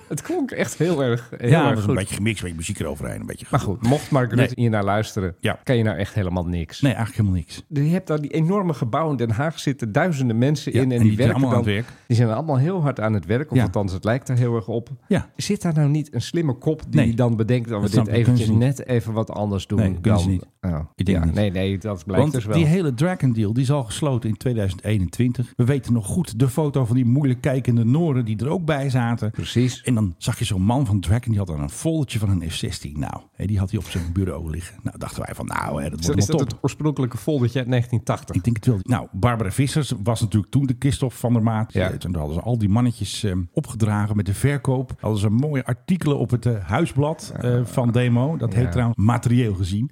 [SPEAKER 6] Het klonk echt heel erg heel
[SPEAKER 5] ja,
[SPEAKER 6] erg
[SPEAKER 5] dat was een
[SPEAKER 6] goed.
[SPEAKER 5] beetje gemixt met muziek eroverheen. Een beetje
[SPEAKER 6] Maar goed, mocht Mark Rutte
[SPEAKER 5] Nee.
[SPEAKER 6] hier naar luisteren, kan je nou echt helemaal niks.
[SPEAKER 5] Nee, eigenlijk helemaal niks.
[SPEAKER 6] Je hebt daar die enorme gebouwen in Den Haag zitten duizenden mensen in. En,
[SPEAKER 5] en
[SPEAKER 6] die,
[SPEAKER 5] die zijn
[SPEAKER 6] werken
[SPEAKER 5] allemaal
[SPEAKER 6] dan,
[SPEAKER 5] aan het werk.
[SPEAKER 6] Die zijn allemaal heel hard aan het werk. Of
[SPEAKER 5] Ja.
[SPEAKER 6] althans, het lijkt er heel erg op.
[SPEAKER 5] Ja.
[SPEAKER 6] Zit daar nou niet een slimme kop die
[SPEAKER 5] Nee.
[SPEAKER 6] dan bedenkt dat we
[SPEAKER 5] Dat
[SPEAKER 6] dit
[SPEAKER 5] snap ik, kunnen
[SPEAKER 6] eventjes
[SPEAKER 5] ze niet.
[SPEAKER 6] net even wat anders doen?
[SPEAKER 5] Nee, kunnen
[SPEAKER 6] dan,
[SPEAKER 5] ze niet.
[SPEAKER 6] Oh,
[SPEAKER 5] Ik denk
[SPEAKER 6] ja,
[SPEAKER 5] niet.
[SPEAKER 6] Nee, nee, dat blijkt
[SPEAKER 5] Want
[SPEAKER 6] dus wel.
[SPEAKER 5] die hele Dragon Deal die is al gesloten in 2021. We weten nog goed de foto van die moeilijk kijkende Noren die er ook bij zaten.
[SPEAKER 6] Precies.
[SPEAKER 5] En dan zag je zo'n man van Dragon die had dan een foldertje van een F-16. Nou, hè, die had hij op zijn bureau liggen. Nou, dachten wij van nou, hè, dat
[SPEAKER 6] Zo
[SPEAKER 5] wordt
[SPEAKER 6] is
[SPEAKER 5] wel top.
[SPEAKER 6] dat het oorspronkelijke foldertje uit 1980?
[SPEAKER 5] Ik denk het wel. Nou, Barbara Vissers was natuurlijk toen de Christophe van der Maat. En toen hadden ze al die mannetjes eh, opgedragen met de verkoop. Hadden ze mooie artikelen op het eh, huisblad eh, van Demo. Dat
[SPEAKER 6] Ja.
[SPEAKER 5] heet trouwens materieel
[SPEAKER 6] [LAUGHS]
[SPEAKER 5] gezien.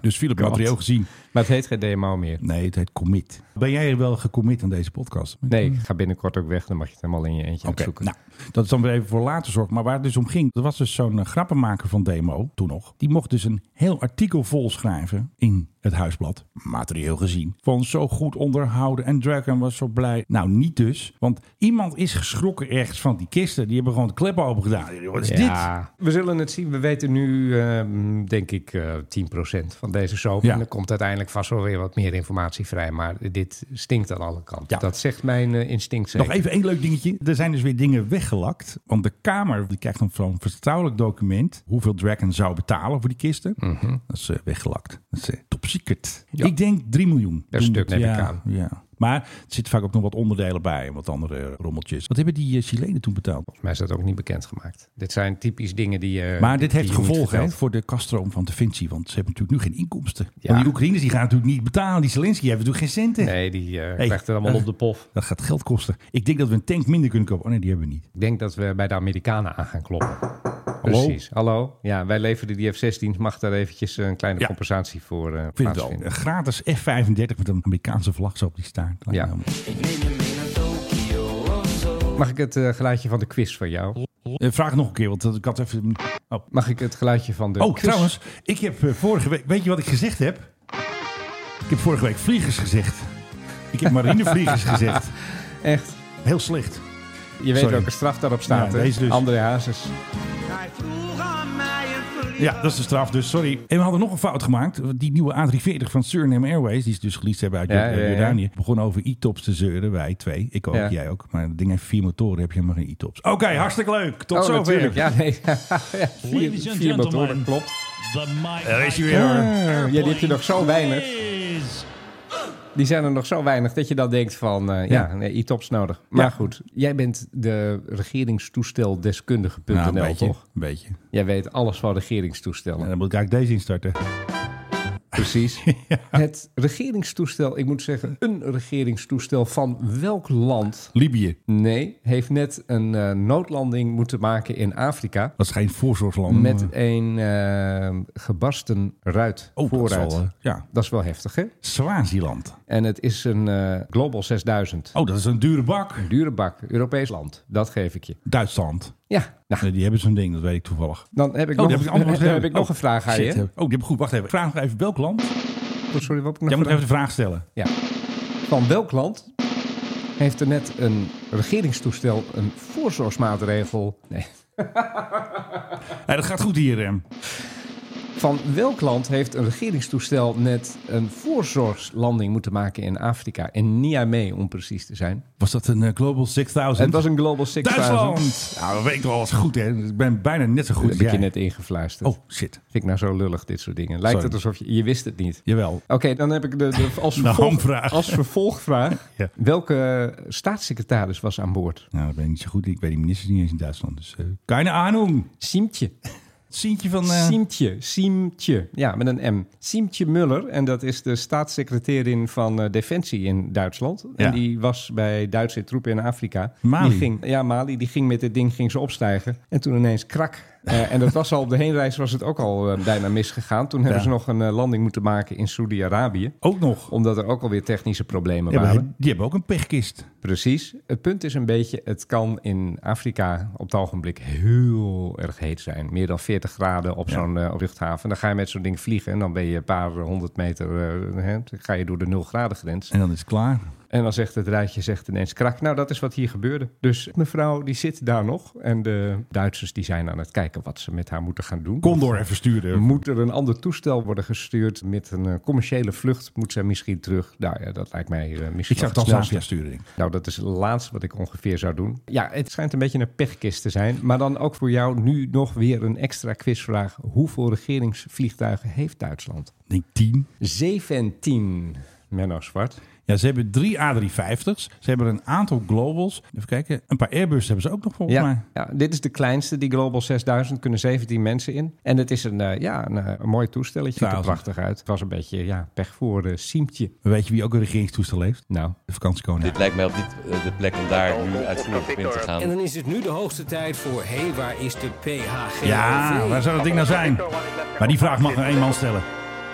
[SPEAKER 5] Dus Philip,
[SPEAKER 6] God.
[SPEAKER 5] materieel gezien.
[SPEAKER 6] Maar het heet geen DMO meer.
[SPEAKER 5] Nee, het heet commit. Ben jij wel gecommit aan deze podcast?
[SPEAKER 6] Nee, ik ga binnenkort ook weg. Dan mag je het helemaal in je eentje
[SPEAKER 5] Oké,
[SPEAKER 6] opzoeken.
[SPEAKER 5] nou, dat is dan weer even voor later zorg. Maar waar het dus om ging, er was dus zo'n eh, grappenmaker van Demo, toen nog. Die mocht dus een heel artikel volschrijven in het huisblad, materieel gezien. Van zo goed onderhouden en Dragon was zo blij. Nou, niet dus. Want iemand is geschrokken ergens van die kisten. Die hebben gewoon de klep open gedaan. Wat is dit?
[SPEAKER 6] ja, We zullen het zien. We weten nu, ehm, denk ik, eh 10% van deze soap.
[SPEAKER 5] Ja.
[SPEAKER 6] En er komt uiteindelijk vast wel weer wat meer informatie vrij. Maar dit stinkt aan alle kanten. Dat zegt mijn eh, instinct zeker.
[SPEAKER 5] Nog even één leuk dingetje. Er zijn dus weer dingen weggelakt. Want de Kamer die krijgt dan zo'n vertrouwelijk document. hoeveel Dragon zou betalen voor die kisten.
[SPEAKER 6] Mhm.
[SPEAKER 5] Dat is eh, weggelakt. Dat is eh, top secret. Ik denk 3 miljoen.
[SPEAKER 6] Per stuk neem ik
[SPEAKER 5] ja,
[SPEAKER 6] aan.
[SPEAKER 5] Ja. Maar er zitten vaak ook nog wat onderdelen bij en wat andere rommeltjes. Wat hebben die eh, Chilenen toen betaald?
[SPEAKER 6] Volgens mij is dat ook niet bekendgemaakt. Dit zijn typisch dingen die je...
[SPEAKER 5] maar dit
[SPEAKER 6] die
[SPEAKER 5] heeft
[SPEAKER 6] je niet
[SPEAKER 5] gevolgen hè,
[SPEAKER 6] vertelt.
[SPEAKER 5] voor de kaststroom van Defensie. Want ze hebben natuurlijk nu geen inkomsten.
[SPEAKER 6] Ja.
[SPEAKER 5] Want die Oekraïners die gaan natuurlijk niet betalen. Die Zelensky hebben natuurlijk geen centen.
[SPEAKER 6] Nee, die eh
[SPEAKER 5] Hey,
[SPEAKER 6] krijgt het allemaal
[SPEAKER 5] dat-
[SPEAKER 6] op de pof.
[SPEAKER 5] Dat gaat geld kosten. Ik denk dat we een tank minder kunnen kopen. Oh nee, die hebben we niet.
[SPEAKER 6] Ik denk dat we bij de Amerikanen aan gaan kloppen. Precies. Hallo? Ja, wij leverden die F-16's. Mag daar eventjes een kleine compensatie voor eh
[SPEAKER 5] Ik vind het wel.
[SPEAKER 6] plaatsvinden.
[SPEAKER 5] Een gratis F-35 met een Amerikaanse vlag zo op die staart. Lijkt
[SPEAKER 6] Ja.
[SPEAKER 5] me helemaal-
[SPEAKER 6] Mag ik het eh, geluidje van de quiz van jou?
[SPEAKER 5] Eh, vraag nog een keer, want dat- ik had even... Oh,
[SPEAKER 6] Mag ik het geluidje van de
[SPEAKER 5] oh
[SPEAKER 6] quiz?
[SPEAKER 5] trouwens, ik heb eh, vorige week... Weet je wat ik gezegd heb? Ik heb vorige week vliegers gezegd. Ik heb
[SPEAKER 6] [LAUGHS]
[SPEAKER 5] marinevliegers gezegd.
[SPEAKER 6] Echt?
[SPEAKER 5] Heel slecht.
[SPEAKER 6] Je weet
[SPEAKER 5] Sorry.
[SPEAKER 6] welke straf daarop staat,
[SPEAKER 5] Ja,
[SPEAKER 6] hè?
[SPEAKER 5] deze dus.
[SPEAKER 6] André Hazes.
[SPEAKER 5] Ja, dat is de straf, dus sorry. En we hadden nog een fout gemaakt. Die nieuwe A340 van Suriname Airways, die ze dus geleased hebben uit
[SPEAKER 6] Ja,
[SPEAKER 5] Jor-
[SPEAKER 6] ja, ja.
[SPEAKER 5] Jordanië. Begon over e-tops te zeuren, wij twee. Ik ook,
[SPEAKER 6] Ja.
[SPEAKER 5] jij ook. Maar dat ding heeft vier motoren, heb je helemaal geen e-tops. Oké, hartstikke leuk. Tot
[SPEAKER 6] Oh,
[SPEAKER 5] zover.
[SPEAKER 6] natuurlijk. Ja, nee. [LAUGHS] ja, vier,
[SPEAKER 14] Ladies and
[SPEAKER 6] vier motoren,
[SPEAKER 14] gentlemen.
[SPEAKER 6] klopt.
[SPEAKER 14] The Mike
[SPEAKER 5] Daar is hij weer.
[SPEAKER 6] Ja, die heb je nog zo weinig.
[SPEAKER 14] is
[SPEAKER 6] Die zijn er nog zo weinig dat je dan denkt van... eh, ja,
[SPEAKER 5] Ja.
[SPEAKER 6] nee, e-tops nodig. Maar
[SPEAKER 5] Ja.
[SPEAKER 6] goed, jij bent de regeringstoesteldeskundige.nl,
[SPEAKER 5] Nou, een beetje,
[SPEAKER 6] toch?
[SPEAKER 5] Een beetje.
[SPEAKER 6] Jij weet alles van regeringstoestellen.
[SPEAKER 5] En dan moet ik eigenlijk deze instarten.
[SPEAKER 6] Precies. [LAUGHS] Het regeringstoestel, ik moet zeggen, een regeringstoestel van welk land?
[SPEAKER 5] Libië.
[SPEAKER 6] Nee, heeft net een eh, noodlanding moeten maken in Afrika.
[SPEAKER 5] Dat is geen voorzorgsland.
[SPEAKER 6] Met een eh, gebarsten ruit
[SPEAKER 5] Oh, dat
[SPEAKER 6] vooruit.
[SPEAKER 5] zal, eh, ja.
[SPEAKER 6] dat is wel heftig, hè?
[SPEAKER 5] Swaziland.
[SPEAKER 6] En het is een eh, Global 6000.
[SPEAKER 5] Oh, dat is een dure bak.
[SPEAKER 6] Een dure bak. Europees land. Dat geef ik je.
[SPEAKER 5] Duitsland.
[SPEAKER 6] Ja. nou,
[SPEAKER 5] Nee, die hebben zo'n ding, dat weet ik toevallig.
[SPEAKER 6] Dan heb ik
[SPEAKER 5] Oh,
[SPEAKER 6] nog,
[SPEAKER 5] die heb ik allemaal
[SPEAKER 6] dan
[SPEAKER 5] gezegd.
[SPEAKER 6] heb ik nog
[SPEAKER 5] Oh,
[SPEAKER 6] een vraag aan
[SPEAKER 5] shit,
[SPEAKER 6] je.
[SPEAKER 5] heb- Oh, die heb ik goed. Wacht even. Vraag nog even welk land?
[SPEAKER 6] Oh, Sorry, wat heb ik nog
[SPEAKER 5] Jij moet
[SPEAKER 6] gedaan?
[SPEAKER 5] even de vraag stellen.
[SPEAKER 6] Ja. Van welk land heeft er net een regeringstoestel een voorzorgsmaatregel... Nee.
[SPEAKER 5] Hé, dat gaat goed hier, Rem.
[SPEAKER 6] van welk land heeft een regeringstoestel net een voorzorgslanding moeten maken in Afrika? In Niamey, om precies te zijn.
[SPEAKER 5] Was dat een eh, Global 6000?
[SPEAKER 6] Het was een Global 6000.
[SPEAKER 5] Duitsland! Nou, dat weet ik wel eens goed, hè. Ik ben bijna net zo goed
[SPEAKER 6] Goed,
[SPEAKER 5] als
[SPEAKER 6] heb ik je
[SPEAKER 5] jij.
[SPEAKER 6] net ingefluisterd.
[SPEAKER 5] Oh, shit.
[SPEAKER 6] Vind ik nou zo lullig, dit soort dingen. Lijkt
[SPEAKER 5] Sorry.
[SPEAKER 6] het alsof je... Je wist het niet.
[SPEAKER 5] Jawel.
[SPEAKER 6] Oké, dan heb ik
[SPEAKER 5] [LAUGHS]
[SPEAKER 6] de, de als,
[SPEAKER 5] Nou,
[SPEAKER 6] vervolg-
[SPEAKER 5] hamvraag.
[SPEAKER 6] als vervolgvraag.
[SPEAKER 5] [LAUGHS] Ja.
[SPEAKER 6] Welke staatssecretaris was aan boord?
[SPEAKER 5] Nou, dat ben ik niet zo goed. Ik weet die ministers niet eens in Duitsland. Dus, eh keine Ahnung.
[SPEAKER 6] Siemtje.
[SPEAKER 5] Sientje van... eh,
[SPEAKER 6] Siemtje, Siemtje, ja, met een M. Siemtje Muller, en dat is de staatssecretarin van eh, Defensie in Duitsland.
[SPEAKER 5] Ja.
[SPEAKER 6] En die was bij Duitse troepen in Afrika.
[SPEAKER 5] Mali.
[SPEAKER 6] Die ging, ja, Mali, die ging met dit ding ging ze opstijgen. En toen ineens krak. Eh, en dat was al op de heenreis was het ook al eh, bijna misgegaan. Toen hebben
[SPEAKER 5] Ja.
[SPEAKER 6] ze nog een eh, landing moeten maken in Saudi-Arabië.
[SPEAKER 5] Ook nog.
[SPEAKER 6] Omdat er ook alweer technische problemen
[SPEAKER 5] ja,
[SPEAKER 6] waren.
[SPEAKER 5] maar die hebben ook een pechkist.
[SPEAKER 6] Precies. Het punt is een beetje, het kan in Afrika op het ogenblik heel erg heet zijn. Meer dan 40 graden op
[SPEAKER 5] Ja.
[SPEAKER 6] zo'n eh, luchthaven. Dan ga je met zo'n ding vliegen en dan ben je een paar honderd meter, eh, hè, dan ga je door de 0 graden grens.
[SPEAKER 5] En dan is het klaar.
[SPEAKER 6] En dan zegt het rijtje zegt ineens krak. Nou, dat is wat hier gebeurde. Dus mevrouw, die zit daar nog. En de Duitsers die zijn aan het kijken wat ze met haar moeten gaan doen.
[SPEAKER 5] Condor even sturen.
[SPEAKER 6] Moet er een ander toestel worden gestuurd met een eh, commerciële vlucht? Moet zij misschien terug? Nou ja, dat lijkt mij eh, misschien
[SPEAKER 5] Ik zou
[SPEAKER 6] wel
[SPEAKER 5] het
[SPEAKER 6] snelste.
[SPEAKER 5] Tanzania sturen, denk
[SPEAKER 6] Nou, dat is het laatste wat ik ongeveer zou doen. Ja, het schijnt een beetje een pechkist te zijn. Maar dan ook voor jou nu nog weer een extra quizvraag. Hoeveel regeringsvliegtuigen heeft Duitsland?
[SPEAKER 5] Ik denk 10.
[SPEAKER 6] 17, Menno Zwart.
[SPEAKER 5] Ja, ze hebben drie A350's. Ze hebben een aantal Globals. Even kijken. Een paar Airbus hebben ze ook nog volgens mij.
[SPEAKER 6] Ja, ja, dit is de kleinste, die Global 6000. Kunnen 17 mensen in. En het is een, eh, ja, een, eh, een mooi toestelletje. Ziet er
[SPEAKER 5] 1000.
[SPEAKER 6] prachtig uit. Het was een beetje ja, pech voor de Siemtje.
[SPEAKER 5] Maar Weet je wie ook een regeringstoestel heeft?
[SPEAKER 6] Nou.
[SPEAKER 5] De vakantiekoning.
[SPEAKER 14] Dit lijkt mij ook niet eh, de plek om daar nu uitvoerig op in te gaan.
[SPEAKER 2] En dan is het nu de hoogste tijd voor... Hé, hey, waar is de PHG?
[SPEAKER 5] Ja, waar zou dat ding nou zijn? Maar die vraag mag er één man stellen.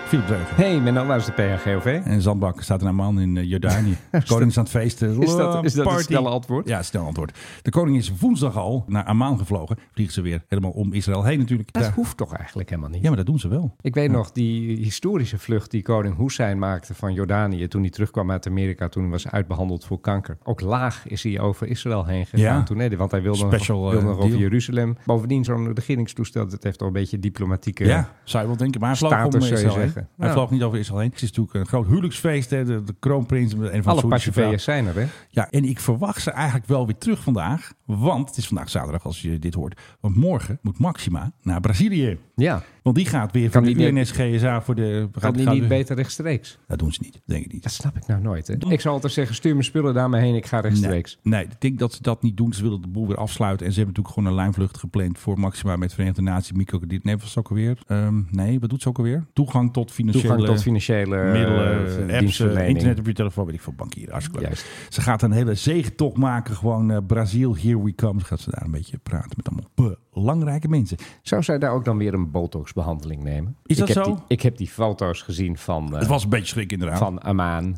[SPEAKER 5] Philip Dreugen.
[SPEAKER 6] Hé, hey, Menno, waar is de PHGOV?
[SPEAKER 5] En Zandbak staat er een man in eh,
[SPEAKER 6] [LAUGHS]
[SPEAKER 5] Jordanië. De koning is aan het feesten.
[SPEAKER 6] Is dat- is dat het
[SPEAKER 5] Party.
[SPEAKER 6] snelle antwoord?
[SPEAKER 5] Ja, het snelle antwoord. De koning is woensdag al naar Amman gevlogen. Vliegen ze weer helemaal om Israël heen natuurlijk.
[SPEAKER 6] Dat
[SPEAKER 5] Daar-
[SPEAKER 6] hoeft toch eigenlijk helemaal niet?
[SPEAKER 5] Ja, maar dat doen ze wel.
[SPEAKER 6] Ik weet nog die historische vlucht die koning Hussein maakte van Jordanië toen hij terugkwam uit Amerika, toen hij was uitbehandeld voor kanker. Ook laag is hij over Israël heen gegaan
[SPEAKER 5] Ja.
[SPEAKER 6] toen, hè, want hij wilde
[SPEAKER 5] Special,
[SPEAKER 6] nog,
[SPEAKER 5] eh,
[SPEAKER 6] wilde nog over
[SPEAKER 5] deal.
[SPEAKER 6] Jeruzalem. Bovendien, zo'n regeringstoestel, dat heeft al een beetje diplomatieke...
[SPEAKER 5] Ja, eh, zou je wel denken. Maar hij vloog
[SPEAKER 6] Status,
[SPEAKER 5] om eh,
[SPEAKER 6] zou je
[SPEAKER 5] Israël heen.
[SPEAKER 6] zeggen.
[SPEAKER 5] Hij
[SPEAKER 6] Ja.
[SPEAKER 5] vloog niet over Israël heen. Het is natuurlijk een groot huwelijksfeest. Hè. De, de kroonprins en van de
[SPEAKER 6] Alle
[SPEAKER 5] Saoedische vrouw.
[SPEAKER 6] partijen zijn er, hè?
[SPEAKER 5] Ja, en ik verwacht ze eigenlijk wel weer terug vandaag. Want het is vandaag zaterdag als je dit hoort. Want morgen moet Maxima naar Brazilië.
[SPEAKER 6] Ja.
[SPEAKER 5] Want die gaat weer
[SPEAKER 6] Kan
[SPEAKER 5] van de
[SPEAKER 6] die niet-
[SPEAKER 5] UNSGSA voor de...
[SPEAKER 6] Kan
[SPEAKER 5] gaat-
[SPEAKER 6] die
[SPEAKER 5] gaat
[SPEAKER 6] niet
[SPEAKER 5] weer-
[SPEAKER 6] beter rechtstreeks?
[SPEAKER 5] Dat doen ze niet, denk ik niet.
[SPEAKER 6] Dat snap ik nou nooit, hè? Ik zal altijd zeggen, stuur mijn spullen daar maar heen, ik ga rechtstreeks.
[SPEAKER 5] Nee, ik denk dat ze dat niet doen. Ze willen de boel weer afsluiten. En ze hebben natuurlijk gewoon een lijnvlucht gepland voor Maxima met Verenigde Naties, microkrediet. Nee, wat is het ook alweer? Ehm, nee, wat doet ze ook alweer? Toegang tot financiële...
[SPEAKER 6] Toegang tot financiële eh,
[SPEAKER 5] middelen, apps, eh,
[SPEAKER 6] dienstverlening.
[SPEAKER 5] internet op je telefoon, weet ik veel, bankieren, hartstikke leuk.
[SPEAKER 6] Juist.
[SPEAKER 5] Ze gaat een hele zegentocht maken, gewoon eh, Brazil, here we come. Dan gaat ze daar een beetje praten met allemaal belangrijke mensen.
[SPEAKER 6] Zou zij daar ook dan weer een botoxbehandeling nemen?
[SPEAKER 5] Is dat
[SPEAKER 6] ik heb
[SPEAKER 5] zo?
[SPEAKER 6] Die, ik heb die foto's gezien van... eh,
[SPEAKER 5] Het was een beetje schrik inderdaad.
[SPEAKER 6] van Amaan. [LAUGHS]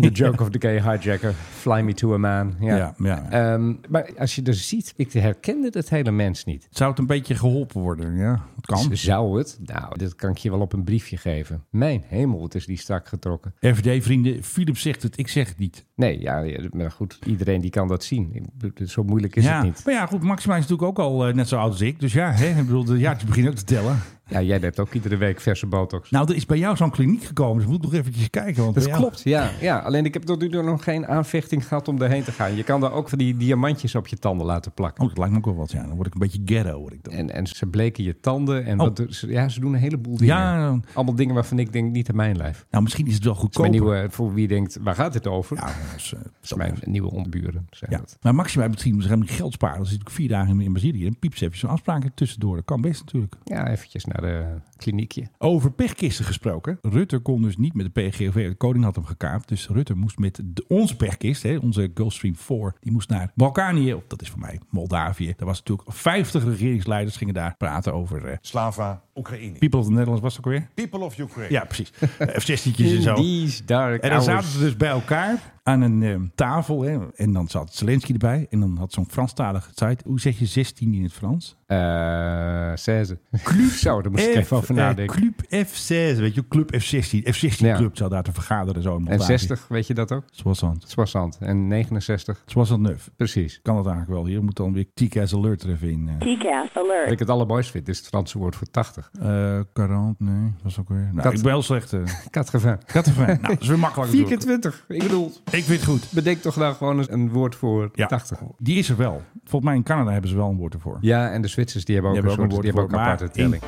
[SPEAKER 6] The joke of the gay hijacker. Fly me to Amaan. Ja.
[SPEAKER 5] Ja, ja.
[SPEAKER 6] Ehm, maar als je er ziet, ik herkende dat hele mens niet.
[SPEAKER 5] Zou het een beetje geholpen worden? Ja, dat kan.
[SPEAKER 6] Z- Zou het? Nou, dat kan ik je wel op een briefje geven. Mijn hemel, het is die strak getrokken.
[SPEAKER 5] RVD-vrienden, Philip zegt het, ik zeg het niet.
[SPEAKER 6] Nee, ja, ja, maar goed, iedereen die kan dat zien. Ik bedoel, Zo moeilijk is
[SPEAKER 5] ja.
[SPEAKER 6] het niet.
[SPEAKER 5] Maar ja, goed, Maxima is natuurlijk ook al eh, net zo oud als ik. Dus ja, hè, ik bedoel, de jaartjes beginnen ook te tellen.
[SPEAKER 6] Ja, jij hebt ook iedere week verse botox.
[SPEAKER 5] Nou, er is bij jou zo'n kliniek gekomen, dus we moeten nog eventjes kijken. Want eh,
[SPEAKER 6] Dat
[SPEAKER 5] bij jou-
[SPEAKER 6] klopt, ja, ja. Alleen ik heb tot nu toe nog geen aanvechting gehad om daarheen te gaan. Je kan daar ook van die diamantjes op je tanden laten plakken.
[SPEAKER 5] Oh, dat lijkt me ook wel wat, ja. Dan word ik een beetje ghetto, word ik dan.
[SPEAKER 6] En, en ze bleken je tanden. En
[SPEAKER 5] Oh.
[SPEAKER 6] wat, ze- ja, ze doen een heleboel dingen.
[SPEAKER 5] Ja, dan-
[SPEAKER 6] Allemaal dingen waarvan ik denk, niet aan mijn lijf.
[SPEAKER 5] Nou, misschien is het wel
[SPEAKER 6] Dat is mijn
[SPEAKER 5] goedkoper.
[SPEAKER 6] nieuwe, voor wie denkt, waar gaat dit over?
[SPEAKER 5] Ja,
[SPEAKER 6] dat
[SPEAKER 5] dat is, eh,
[SPEAKER 6] is mijn nieuwe ontburen. Zijn
[SPEAKER 5] Ja.
[SPEAKER 6] dat.
[SPEAKER 5] Maar Maxima heeft misschien misschien geld sparen. Als hij natuurlijk vier dagen in- in Brazilië en piept ze even zijn afspraken tussendoor. Dat kan best natuurlijk.
[SPEAKER 6] ja, eventjes naar de kliniekje.
[SPEAKER 5] Over pechkisten gesproken. Rutte kon dus niet met de PGOV. De koning had hem gekaapt. Dus Rutte moest met de, onze pechkist, hè, onze Gulfstream 4, die moest naar Balkanië. Of dat is voor mij Moldavië. Daar was natuurlijk 50 regeringsleiders gingen daar praten over eh,
[SPEAKER 1] Slava, Oekraïne.
[SPEAKER 5] People of the Netherlands was het ook weer.
[SPEAKER 1] People of Ukraine.
[SPEAKER 5] [LAUGHS] Ja, precies. F-16'tjes en zo.
[SPEAKER 6] In these dark
[SPEAKER 5] En dan
[SPEAKER 6] hours.
[SPEAKER 5] zaten ze dus bij elkaar. aan een eh, tafel. Hè, en dan zat Zelensky erbij. En dan had zo'n Franstalige site. Hoe zeg je 16 in het Frans?
[SPEAKER 6] Eh, 16. Zo, daar moest ik even over
[SPEAKER 5] eh,
[SPEAKER 6] nadenken.
[SPEAKER 5] Club F6, weet je, Club F16. F16
[SPEAKER 6] Ja.
[SPEAKER 5] Club zou daar te vergaderen zo in
[SPEAKER 6] En
[SPEAKER 5] Moldavië.
[SPEAKER 6] 60, weet je dat ook?
[SPEAKER 5] Soissant.
[SPEAKER 6] Soissant. En 69.
[SPEAKER 5] Soissant neuf.
[SPEAKER 6] Precies.
[SPEAKER 5] Kan dat eigenlijk wel. Hier moet dan weer TKS Alert er even in. eh.
[SPEAKER 15] TCAS
[SPEAKER 6] Wat
[SPEAKER 15] alert.
[SPEAKER 6] ik het allermooist vind, is het Franse woord voor 80.
[SPEAKER 5] Eh 40, nee, was ook weer. Nou,
[SPEAKER 6] Kat-
[SPEAKER 5] ik ben heel slecht. eh.
[SPEAKER 6] Katgevaar.
[SPEAKER 5] Kattenvrij. nou, dat is weer makkelijk.
[SPEAKER 6] 4 keer
[SPEAKER 5] natuurlijk.
[SPEAKER 6] 20. Ik bedoel,
[SPEAKER 5] Ik vind het goed.
[SPEAKER 6] bedenk toch nou gewoon eens een woord voor 80.
[SPEAKER 5] Die is er wel. Volgens mij in Canada hebben ze wel een woord ervoor.
[SPEAKER 6] Ja, en de Zwitsers die hebben ook
[SPEAKER 5] Die
[SPEAKER 6] een,
[SPEAKER 5] hebben
[SPEAKER 6] soort,
[SPEAKER 5] ook
[SPEAKER 6] die
[SPEAKER 5] een
[SPEAKER 6] hebben ook
[SPEAKER 5] woord
[SPEAKER 6] een
[SPEAKER 5] voor, maar
[SPEAKER 6] aparte telling.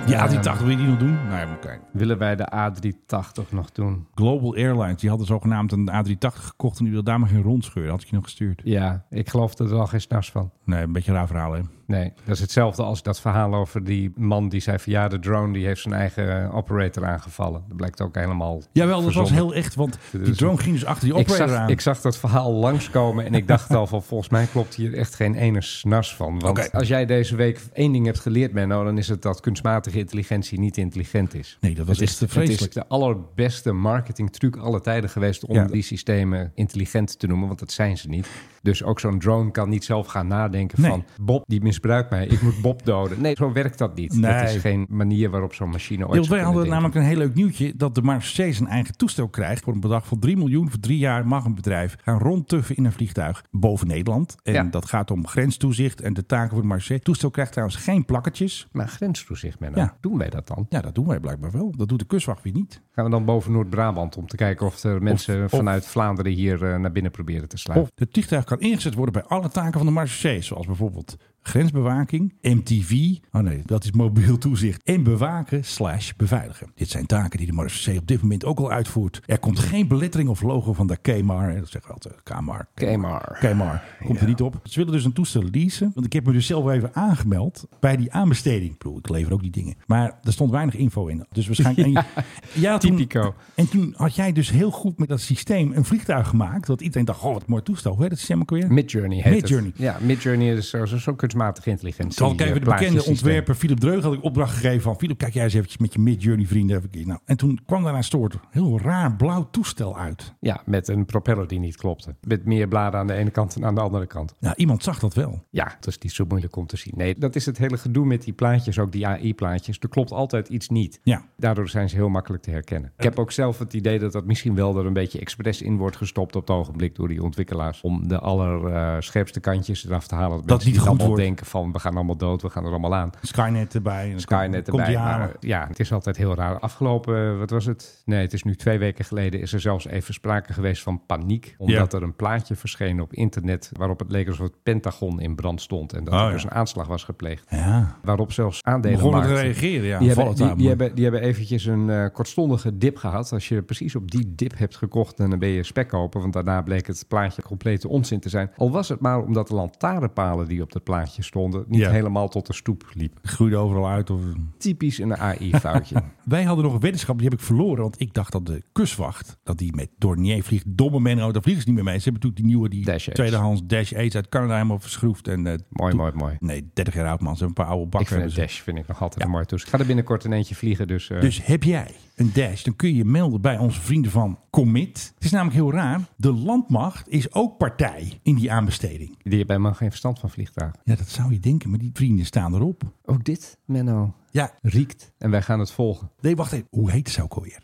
[SPEAKER 5] Ja, die
[SPEAKER 6] Ehm,
[SPEAKER 5] 80 wil je die nog doen? Nou ja, moet kijken.
[SPEAKER 6] Willen wij de A380 nog doen?
[SPEAKER 5] Global Airlines, die hadden zogenaamd een A380 gekocht en die wilde daar maar geen rond scheuren. Had ik je nog gestuurd.
[SPEAKER 6] Ja, ik geloof er al geen s'nachts van.
[SPEAKER 5] Nee, een beetje raar verhaal, hè?
[SPEAKER 6] Nee, dat is hetzelfde als dat verhaal over die man die zei van ja, de drone die heeft zijn eigen eh, operator aangevallen. Dat blijkt ook helemaal.
[SPEAKER 5] Jawel, dat was
[SPEAKER 6] verzonnen.
[SPEAKER 5] heel echt, [LAUGHS] want
[SPEAKER 6] Dus-
[SPEAKER 5] die drone ging dus achter die
[SPEAKER 6] ik
[SPEAKER 5] operator
[SPEAKER 6] zag,
[SPEAKER 5] aan.
[SPEAKER 6] Ik zag dat verhaal langskomen en ik dacht al van volgens mij klopt hier echt geen ene snas van. Want
[SPEAKER 5] Oké.
[SPEAKER 6] als jij deze week één ding hebt geleerd, Menno, dan is het dat kunstmatige intelligentie niet intelligent is.
[SPEAKER 5] Nee, dat was
[SPEAKER 6] het is,
[SPEAKER 5] echt te
[SPEAKER 6] Het
[SPEAKER 5] vreselijk.
[SPEAKER 6] is de allerbeste marketingtruc alle tijden geweest om
[SPEAKER 5] Ja.
[SPEAKER 6] die systemen intelligent te noemen, want dat zijn ze niet. Dus ook zo'n drone kan niet zelf gaan nadenken
[SPEAKER 5] Nee.
[SPEAKER 6] van Bob die misbruikt mij, ik moet Bob doden. Nee, zo werkt dat niet.
[SPEAKER 5] Nee.
[SPEAKER 6] Dat is geen manier waarop zo'n machine ooit
[SPEAKER 5] Jawel,
[SPEAKER 6] zou
[SPEAKER 5] wij hadden
[SPEAKER 6] kunnen denken.
[SPEAKER 5] namelijk een heel leuk nieuwtje dat de Marseilles een eigen toestel krijgt. Voor een bedrag van 3 miljoen voor drie jaar mag een bedrijf gaan rondtuffen in een vliegtuig boven Nederland. En
[SPEAKER 6] Ja.
[SPEAKER 5] dat gaat om grenstoezicht en de taken voor de Marseille. Het toestel krijgt trouwens geen plakketjes.
[SPEAKER 6] Maar grenstoezicht, Menno,
[SPEAKER 5] Ja.
[SPEAKER 6] doen wij dat dan?
[SPEAKER 5] Ja, dat doen wij blijkbaar wel. Dat doet de kustwacht weer niet.
[SPEAKER 6] Gaan we dan boven Noord-Brabant om te kijken of er mensen
[SPEAKER 5] of-
[SPEAKER 6] vanuit Vlaanderen hier eh, naar binnen proberen te sluipen?
[SPEAKER 5] Of het vliegtuig kan ingezet worden bij alle taken van de Marseillais. Zoals bijvoorbeeld grensbewaking, MTV. Oh nee, dat is mobiel toezicht. En bewaken slash beveiligen. Dit zijn taken die de Marseillais op dit moment ook al uitvoert. Er komt geen belettering of logo van de KMAR. hè, Dat zeggen we altijd. KMAR.
[SPEAKER 6] KMAR.
[SPEAKER 5] KMAR. Komt er niet op. Ze willen dus een toestel leasen. Want ik heb me dus zelf even aangemeld bij die aanbesteding. Ik bedoel, ik lever ook die dingen. Maar er stond weinig info in. Dus
[SPEAKER 6] [LAUGHS]
[SPEAKER 5] waarschijnlijk... en je- jij had toen-
[SPEAKER 6] typico.
[SPEAKER 5] en toen had jij dus heel goed met dat systeem een vliegtuig gemaakt. Dat iedereen dacht, oh wat een mooi toestel. Hoe heet dat systeem ook weer?
[SPEAKER 6] Midjourney heet het.
[SPEAKER 5] Midjourney.
[SPEAKER 6] Ja, Midjourney is eh, zo- zo- zo'n kunstmatige intelligentie.
[SPEAKER 5] Toen had ik
[SPEAKER 6] eh,
[SPEAKER 5] even de bekende
[SPEAKER 6] plaatjesysteem.
[SPEAKER 5] ontwerper Philip Dreug had ik opdracht gegeven van... Philip, kijk jij eens eventjes met je Midjourney vrienden. even- Nou, en toen kwam daar een soort heel raar blauw toestel uit.
[SPEAKER 6] Ja, met een propeller die niet klopte. Met meer bladen aan de ene kant en aan de andere kant.
[SPEAKER 5] Nou, iemand zag dat wel.
[SPEAKER 6] Ja, dat is niet zo moeilijk om te zien. Nee, dat is het hele gedoe met die plaatjes, ook die AI-plaatjes. Er klopt altijd iets niet.
[SPEAKER 5] Ja.
[SPEAKER 6] Daardoor zijn ze heel makkelijk te herkennen. Ik heb ook zelf het idee dat dat misschien wel er een beetje expres in wordt gestopt op het ogenblik door die ontwikkelaars. Om de allerscherpste kantjes eraf te halen. Dat, mensen
[SPEAKER 5] niet goed
[SPEAKER 6] allemaal
[SPEAKER 5] wordt.
[SPEAKER 6] denken van we gaan allemaal dood, we gaan er allemaal aan.
[SPEAKER 5] Skynet erbij. En dan
[SPEAKER 6] Skynet
[SPEAKER 5] komt
[SPEAKER 6] erbij.
[SPEAKER 5] die halen.
[SPEAKER 6] Maar eh, ja, het is altijd heel raar. Afgelopen, eh, wat was het? Nee, het is nu twee weken geleden. Is er zelfs even sprake geweest van paniek. Omdat
[SPEAKER 5] Ja.
[SPEAKER 6] er een plaatje verscheen op internet. waarop het leek alsof het Pentagon in brand stond. En dat
[SPEAKER 5] Oh,
[SPEAKER 6] er
[SPEAKER 5] ja.
[SPEAKER 6] dus een aanslag was gepleegd.
[SPEAKER 5] Ja.
[SPEAKER 6] Waarop zelfs aandelen
[SPEAKER 5] Begonnen te reageren, ja.
[SPEAKER 6] Die hebben, die,
[SPEAKER 5] Volatile,
[SPEAKER 6] die
[SPEAKER 5] man.
[SPEAKER 6] hebben, die hebben eventjes een eh, kortstondige dip gehad. Als je precies op die dip hebt gekocht, dan ben je spekkoper. Want daarna bleek het plaatje complete onzin te zijn. Al was het maar omdat de lantaarnpalen die op dat plaatje stonden... niet
[SPEAKER 5] Ja.
[SPEAKER 6] helemaal tot de stoep liepen.
[SPEAKER 5] Groeide overal uit. Of...
[SPEAKER 6] Typisch
[SPEAKER 5] [LAUGHS]
[SPEAKER 6] een AI-foutje.
[SPEAKER 5] Wij hadden nog een weddenschap, die heb ik verloren. Want ik dacht dat de kustwacht, dat die met Dornier vliegt. Domme Menno, daar vliegen ze niet meer mee. Ze hebben natuurlijk die nieuwe, die
[SPEAKER 6] Dash 8.
[SPEAKER 5] tweedehands Dash 8 uit Canada helemaal verschroefd. En, eh,
[SPEAKER 6] Mooi,
[SPEAKER 5] toen-
[SPEAKER 6] mooi, mooi.
[SPEAKER 5] Nee, 30 jaar oud man. Ze hebben een paar oude
[SPEAKER 6] Ik
[SPEAKER 5] bakken.
[SPEAKER 6] vind een
[SPEAKER 5] hebben ze.
[SPEAKER 6] dash vind ik nog altijd een mooi toestel. Ik ga er binnenkort een eentje vliegen, dus... eh,
[SPEAKER 5] Dus heb jij een dash, dan kun je je melden bij onze vrienden van Commit. Het is namelijk heel raar. De landmacht is ook partij in die aanbesteding.
[SPEAKER 6] Die hebben helemaal geen verstand van vliegtuigen.
[SPEAKER 5] Ja, dat zou je denken, maar die vrienden staan erop.
[SPEAKER 6] Ook Oh, dit, Menno,
[SPEAKER 5] Ja,
[SPEAKER 6] riekt. En wij gaan het volgen.
[SPEAKER 5] nee, wacht even. Hoe heet ze ook alweer?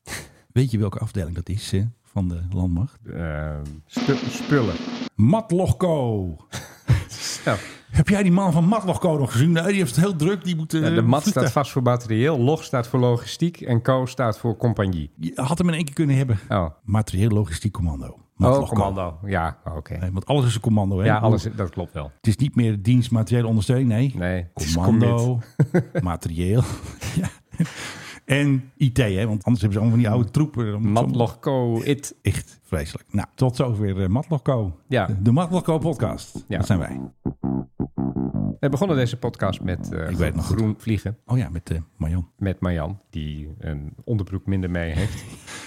[SPEAKER 5] Weet je welke afdeling dat is eh, van de landmacht? Ehm,
[SPEAKER 6] Eh, spu- spullen.
[SPEAKER 5] Matlogco.
[SPEAKER 6] Nou,
[SPEAKER 5] Heb jij die man van Matlogco nog gezien? Nou, die heeft het heel druk. Die moet, eh,
[SPEAKER 6] de mat staat
[SPEAKER 5] vliegtuig-
[SPEAKER 6] vast voor materieel, log staat voor logistiek en co staat voor compagnie.
[SPEAKER 5] Je had hem in één keer kunnen hebben.
[SPEAKER 6] Oh,
[SPEAKER 5] Materieel logistiek commando.
[SPEAKER 6] oh
[SPEAKER 5] Matlogco.
[SPEAKER 6] commando. Ja, oké.
[SPEAKER 5] Nee, want alles is een commando. Hè?
[SPEAKER 6] Ja, alles, dat klopt wel.
[SPEAKER 5] Het is niet meer dienst materiële ondersteuning, nee.
[SPEAKER 6] Nee, het is
[SPEAKER 5] Commando, [LAUGHS] materieel. ja. En IT, hè, want anders hebben ze allemaal van die oude troepen. Dan moet ze-
[SPEAKER 6] Matlog, co, it.
[SPEAKER 5] Echt vreselijk. Nou, tot zover eh Matlogco.
[SPEAKER 6] Ja.
[SPEAKER 5] De Matlogco podcast.
[SPEAKER 6] Ja.
[SPEAKER 5] Dat zijn wij.
[SPEAKER 6] We begonnen deze podcast met eh,
[SPEAKER 5] Ik weet het nog goed.
[SPEAKER 6] groen vliegen.
[SPEAKER 5] Oh ja, met eh Marjan.
[SPEAKER 6] Met Marjan, die een onderbroek minder mee heeft.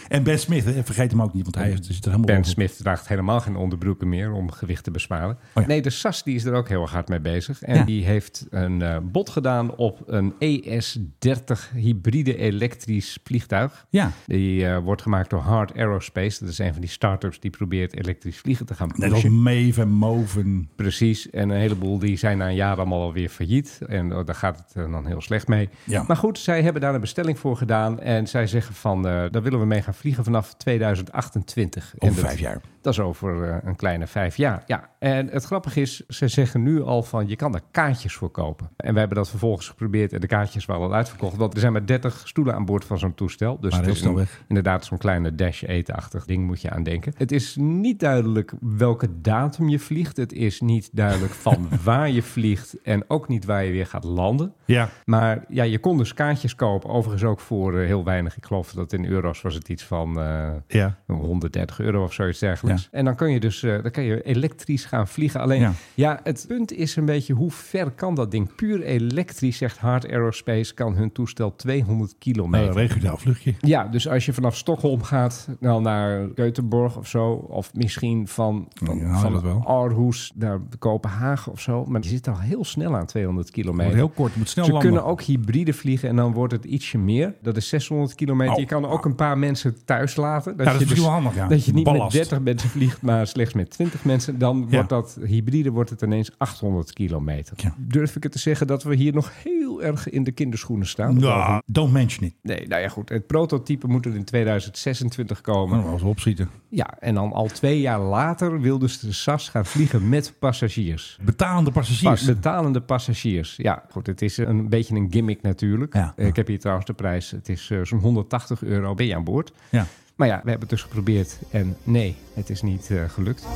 [SPEAKER 5] En Ben Smith, hè, vergeet hem ook niet, want hij is- zit er helemaal
[SPEAKER 6] Ben
[SPEAKER 5] op.
[SPEAKER 6] Smith draagt helemaal geen onderbroeken meer om gewicht te besparen. Nee, de SAS die is er ook heel erg hard mee bezig. En
[SPEAKER 5] Oh Ja.
[SPEAKER 6] die heeft een eh bod gedaan op een ES-30 hybride elektrisch vliegtuig.
[SPEAKER 5] Ja.
[SPEAKER 6] Die eh, wordt gemaakt door Hard Aerospace. Dat is een van die startups die probeert elektrisch vliegen te gaan
[SPEAKER 5] Net
[SPEAKER 6] pushen.
[SPEAKER 5] als Maven, Moven.
[SPEAKER 6] Precies, en een heleboel die zijn na een jaar allemaal alweer failliet. En eh, daar gaat het eh, dan heel slecht mee.
[SPEAKER 5] Ja.
[SPEAKER 6] Maar goed, zij hebben daar een bestelling voor gedaan. En zij zeggen van, eh, daar willen we mee gaan vliegen vanaf 2028.
[SPEAKER 5] Over
[SPEAKER 6] en dat-
[SPEAKER 5] vijf jaar.
[SPEAKER 6] Dat is over eh, een kleine vijf jaar, ja. En het grappige is, ze zeggen nu al van, je kan daar kaartjes voor kopen. En we hebben dat vervolgens geprobeerd en de kaartjes waren al uitverkocht. Want er zijn maar 30 stoelen aan boord van zo'n toestel. Dus
[SPEAKER 5] Maar
[SPEAKER 6] het
[SPEAKER 5] heel
[SPEAKER 6] is
[SPEAKER 5] snel
[SPEAKER 6] een-
[SPEAKER 5] weg.
[SPEAKER 6] inderdaad zo'n kleine dash etenachtig ding moet je aan denken. Het is niet duidelijk welke datum je vliegt. Het is niet
[SPEAKER 5] [LAUGHS]
[SPEAKER 6] duidelijk van waar je vliegt en ook niet waar je weer gaat landen.
[SPEAKER 5] Ja.
[SPEAKER 6] Maar ja, je kon dus kaartjes kopen. Overigens ook voor eh, heel weinig. Ik geloof dat in euro's was het iets van eh,
[SPEAKER 5] Ja.
[SPEAKER 6] 130 euro of zoiets dergelijks.
[SPEAKER 5] Ja.
[SPEAKER 6] En dan kun je dus eh, dan kan je elektrisch gaan vliegen. Alleen
[SPEAKER 5] Ja.
[SPEAKER 6] ja. het punt is een beetje hoe ver kan dat ding? Puur elektrisch, zegt Hard Aerospace, kan hun toestel 200 kilometer.
[SPEAKER 5] Nou, een regionaal vluchtje.
[SPEAKER 6] Ja, dus als je vanaf Stockholm gaat nou naar Göteborg of zo, of misschien van, van,
[SPEAKER 5] Ja,
[SPEAKER 6] van
[SPEAKER 5] dat wel.
[SPEAKER 6] Aarhus naar Kopenhagen of zo, maar je zit al heel snel aan 200 kilometer.
[SPEAKER 5] Wordt heel kort, moet snel
[SPEAKER 6] Ze
[SPEAKER 5] landen.
[SPEAKER 6] kunnen ook hybride vliegen en dan wordt het ietsje meer. Dat is 600 kilometer. je kan ook een paar mensen thuis laten.
[SPEAKER 5] Oh. Ja, dat is
[SPEAKER 6] je dus
[SPEAKER 5] misschien wel handig, ja.
[SPEAKER 6] Dat je niet
[SPEAKER 5] Ballast.
[SPEAKER 6] met 30 mensen vliegt, maar slechts met 20 mensen. Dan
[SPEAKER 5] Ja.
[SPEAKER 6] wordt dat hybride wordt het ineens 800 kilometer. Durf ik het te zeggen dat we hier nog heel erg in de kinderschoenen staan?
[SPEAKER 5] Nou, don't mention it.
[SPEAKER 6] Nee, nou ja, goed. Het prototype moet er in 2026 komen.
[SPEAKER 5] Nou, als we opschieten.
[SPEAKER 6] Ja, en dan al twee jaar later wil dus de SAS gaan vliegen met passagiers.
[SPEAKER 5] Betalende passagiers.
[SPEAKER 6] Pa- betalende passagiers. Ja, goed. Het is een beetje een gimmick natuurlijk. Eh, Ik heb hier trouwens de prijs. Het is eh, zo'n 180 euro. Ben je aan boord?
[SPEAKER 5] Ja.
[SPEAKER 6] Maar ja, we hebben het dus geprobeerd. En nee, het is niet eh, gelukt.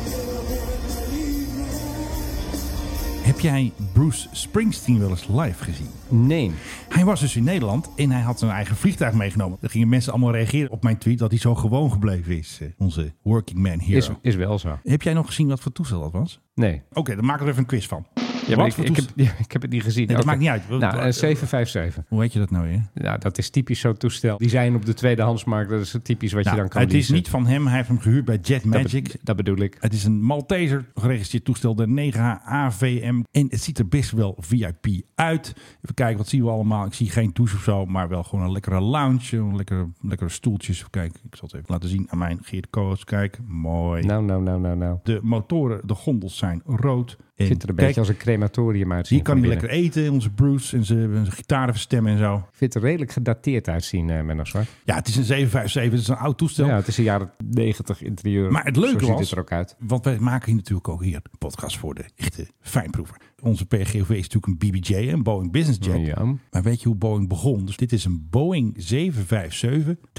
[SPEAKER 5] Heb jij Bruce Springsteen wel eens live gezien?
[SPEAKER 6] Nee.
[SPEAKER 5] Hij was dus in Nederland en hij had zijn eigen vliegtuig meegenomen. Er gingen mensen allemaal reageren op mijn tweet dat hij zo gewoon gebleven is. eh, Onze working man hero.
[SPEAKER 6] Is, is wel zo.
[SPEAKER 5] Heb jij nog gezien wat voor toestel dat was?
[SPEAKER 6] Nee.
[SPEAKER 5] Oké, dan maken we er even een quiz van.
[SPEAKER 6] Ja, maar
[SPEAKER 5] Wat
[SPEAKER 6] ik,
[SPEAKER 5] voor
[SPEAKER 6] ik, heb,
[SPEAKER 5] toestel?
[SPEAKER 6] ja, [LAUGHS] ik heb het niet gezien.
[SPEAKER 5] Nee, dat
[SPEAKER 6] Oké.
[SPEAKER 5] maakt niet uit.
[SPEAKER 6] Nou, een 757.
[SPEAKER 5] Hoe heet je dat nou weer?
[SPEAKER 6] Ja, dat is typisch zo'n toestel. Die zijn op de tweedehandsmarkt. Dat is typisch wat
[SPEAKER 5] Nou,
[SPEAKER 6] je dan kan
[SPEAKER 5] het is
[SPEAKER 6] leasen.
[SPEAKER 5] niet van hem. Hij heeft hem gehuurd bij Jet
[SPEAKER 6] be-
[SPEAKER 5] Magic.
[SPEAKER 6] dat bedoel ik.
[SPEAKER 5] Het is een Malteser geregistreerd toestel, de 9HAVM. En het ziet er best wel VIP uit. Even kijken, wat zien we allemaal? Ik zie geen douche of zo, maar wel gewoon een lekkere lounge. Een lekkere, lekkere stoeltjes. Even kijken, ik zal het even laten zien aan mijn Geert Koos. Kijk, mooi.
[SPEAKER 6] Nou, nou, nou, nou, nou.
[SPEAKER 5] De motoren, de gondels zijn rood. En
[SPEAKER 6] Ziet er een
[SPEAKER 5] kijk,
[SPEAKER 6] beetje als een crematorium uit.
[SPEAKER 5] Hier kan hij lekker eten, onze Bruce en zijn zijn gitaren verstemmen en zo.
[SPEAKER 6] Ik vind het er redelijk gedateerd uitzien, eh Menno Zwart.
[SPEAKER 5] Ja, het is een 757, het is een oud toestel.
[SPEAKER 6] Ja, het is een jaren 90 interieur.
[SPEAKER 5] Maar het leuke
[SPEAKER 6] Zo ziet
[SPEAKER 5] was,
[SPEAKER 6] het er ook uit.
[SPEAKER 5] want wij maken hier natuurlijk ook hier een podcast voor de echte fijnproever. Onze PGOV is natuurlijk een BBJ, hè, een Boeing Business Jet.
[SPEAKER 6] Ja.
[SPEAKER 5] Maar weet je hoe Boeing begon? Dus dit is een Boeing 757-200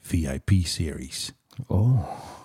[SPEAKER 5] VIP Series.
[SPEAKER 6] Oh.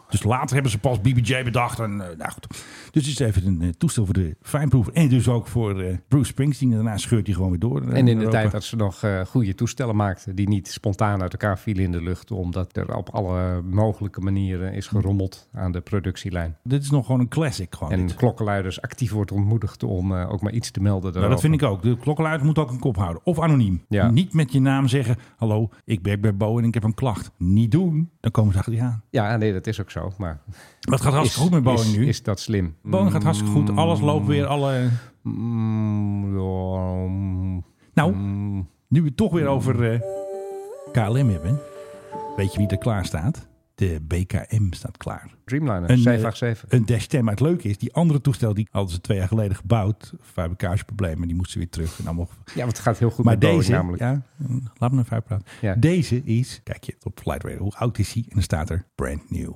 [SPEAKER 5] Dus later hebben ze pas BBJ bedacht. En, eh, nou goed. Dus het is even een eh, toestel voor de fijnproever. En dus ook voor eh, Bruce Springsteen. En daarna scheurt hij gewoon weer door. eh,
[SPEAKER 6] En in de
[SPEAKER 5] Europa.
[SPEAKER 6] tijd dat ze nog eh, goede toestellen maakten... die niet spontaan uit elkaar vielen in de lucht... omdat er op alle mogelijke manieren is gerommeld aan de productielijn.
[SPEAKER 5] Dit is nog gewoon een classic. Gewoon,
[SPEAKER 6] En
[SPEAKER 5] dit.
[SPEAKER 6] klokkenluiders actief wordt ontmoedigd om eh, ook maar iets te melden.
[SPEAKER 5] Nou, dat vind ik ook. De klokkenluider moet ook een kop houden. Of anoniem.
[SPEAKER 6] Ja.
[SPEAKER 5] Niet met je naam zeggen: Hallo, ik werk bij Bo en ik heb een klacht. Niet doen. Dan komen ze achter je aan.
[SPEAKER 6] Ja, nee, dat is ook zo. Maar
[SPEAKER 5] Maar het gaat hartstikke goed met Boeing
[SPEAKER 6] is,
[SPEAKER 5] nu.
[SPEAKER 6] Is Mm. dat slim? mm,
[SPEAKER 5] Boeing gaat hartstikke goed. Alles loopt weer. Alle... Nou,
[SPEAKER 6] mm,
[SPEAKER 5] nu we het toch weer over eh, KLM hebben. Weet je wie er klaar staat? De BKM staat klaar.
[SPEAKER 6] Dreamliner,
[SPEAKER 5] Een, eh,
[SPEAKER 6] 787.
[SPEAKER 5] Een Dash 10. Maar het leuke is, die andere toestel die hadden ze twee jaar geleden gebouwd. Fabrikageproblemen, die moesten weer terug. En allemaal...
[SPEAKER 6] Ja, want het gaat heel goed
[SPEAKER 5] maar
[SPEAKER 6] met Boeing
[SPEAKER 5] deze,
[SPEAKER 6] namelijk.
[SPEAKER 5] Ja, mm, laat me even praten.
[SPEAKER 6] Ja.
[SPEAKER 5] Deze is, kijk je op Flightradar, hoe oud is hij? En dan staat er brand new.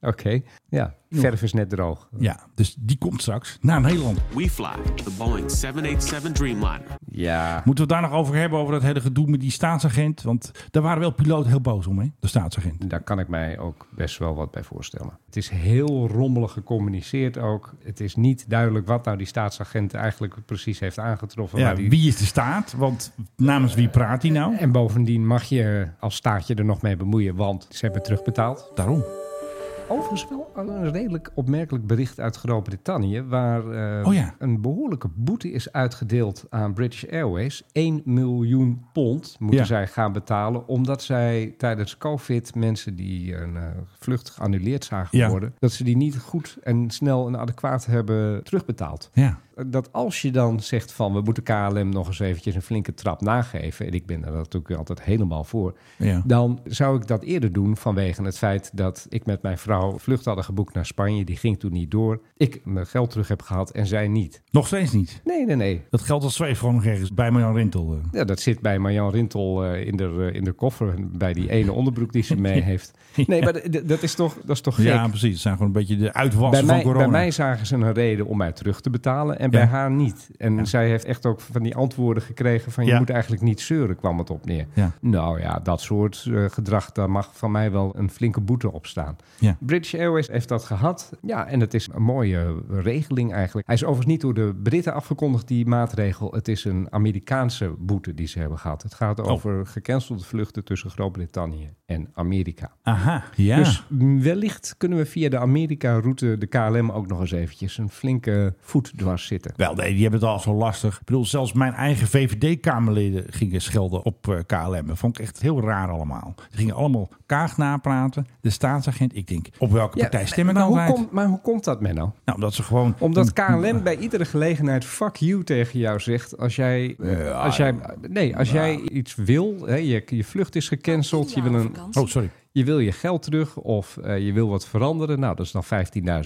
[SPEAKER 6] Oké, ja. Verf is net droog.
[SPEAKER 5] Ja, dus die komt straks naar Nederland.
[SPEAKER 15] We fly the Boeing 787 Dreamliner.
[SPEAKER 6] Ja.
[SPEAKER 5] Moeten we het daar nog over hebben, over dat hele gedoe met die staatsagent? Want daar waren wel piloten heel boos om, hè? De staatsagent.
[SPEAKER 6] Daar kan ik mij ook best wel wat bij voorstellen. Het is heel rommelig gecommuniceerd ook. Het is niet duidelijk wat nou die staatsagent eigenlijk precies heeft aangetroffen.
[SPEAKER 5] Ja,
[SPEAKER 6] waar die-
[SPEAKER 5] wie is de staat? Want namens wie praat hij nou?
[SPEAKER 6] En bovendien mag je als staatje er nog mee bemoeien, want ze hebben terugbetaald.
[SPEAKER 5] Daarom.
[SPEAKER 6] Overigens wel een redelijk opmerkelijk bericht uit Groot-Brittannië, waar eh,
[SPEAKER 5] Oh ja.
[SPEAKER 6] een behoorlijke boete is uitgedeeld aan British Airways. 1 miljoen pond moeten
[SPEAKER 5] Ja.
[SPEAKER 6] zij gaan betalen, omdat zij tijdens COVID mensen die een eh, vlucht geannuleerd zagen
[SPEAKER 5] Ja.
[SPEAKER 6] worden, dat ze die niet goed en snel en adequaat hebben terugbetaald.
[SPEAKER 5] Ja.
[SPEAKER 6] Dat als je dan zegt van we moeten KLM nog eens eventjes een flinke trap nageven, en ik ben daar natuurlijk altijd helemaal voor,
[SPEAKER 5] Ja.
[SPEAKER 6] dan zou ik dat eerder doen vanwege het feit dat ik met mijn vrouw vlucht hadden geboekt naar Spanje. Die ging toen niet door. Ik mijn geld terug heb gehad en zij niet.
[SPEAKER 5] Nog steeds niet.
[SPEAKER 6] Nee, nee, nee.
[SPEAKER 5] Dat geld als zweef gewoon nog ergens bij Marjan Rintel. eh.
[SPEAKER 6] Ja, dat zit bij Marjan Rintel eh, in, de, eh, in de koffer, bij die ene onderbroek die
[SPEAKER 5] [LAUGHS]
[SPEAKER 6] ze mee heeft. Nee, maar d- d- dat is toch, dat is toch gek?
[SPEAKER 5] Ja, precies. Het zijn gewoon een beetje de uitwassen
[SPEAKER 6] bij mij,
[SPEAKER 5] van corona.
[SPEAKER 6] Bij mij zagen ze een reden om mij terug te betalen
[SPEAKER 5] Ja.
[SPEAKER 6] en bij haar niet. En zij heeft echt ook van die antwoorden gekregen van... je
[SPEAKER 5] Ja.
[SPEAKER 6] moet eigenlijk niet zeuren, kwam het op neer.
[SPEAKER 5] Ja.
[SPEAKER 6] Nou ja, dat soort eh, gedrag, daar mag van mij wel een flinke boete op staan.
[SPEAKER 5] Ja.
[SPEAKER 6] British Airways heeft dat gehad. Ja, en het is een mooie regeling eigenlijk. Hij is overigens niet door de Britten afgekondigd, die maatregel. Het is een Amerikaanse boete die ze hebben gehad. Het gaat
[SPEAKER 5] Oh.
[SPEAKER 6] over gecancelde vluchten tussen Groot-Brittannië en Amerika.
[SPEAKER 5] Aha, ja.
[SPEAKER 6] Dus wellicht kunnen we via de Amerika-route de KLM ook nog eens eventjes een flinke voet dwars zitten.
[SPEAKER 5] Wel, nee, die hebben het al zo lastig. Ik bedoel, zelfs mijn eigen VVD-kamerleden gingen schelden op eh, KLM. Dat vond ik echt heel raar allemaal. Ze gingen allemaal kaag napraten. De staatsagent. Ik denk, op welke partij stem ik
[SPEAKER 6] maar, hoe
[SPEAKER 5] altijd?
[SPEAKER 6] komt, maar hoe komt dat, Menno?
[SPEAKER 5] Nou, omdat ze gewoon...
[SPEAKER 6] Omdat KLM bij iedere gelegenheid fuck you tegen jou zegt als jij, als jij, nee, als jij iets wil, hè, je, je vlucht is gecanceld, je wil een,
[SPEAKER 5] Oh, sorry.
[SPEAKER 6] je wil je geld terug of eh, je wil wat veranderen, nou dat is dan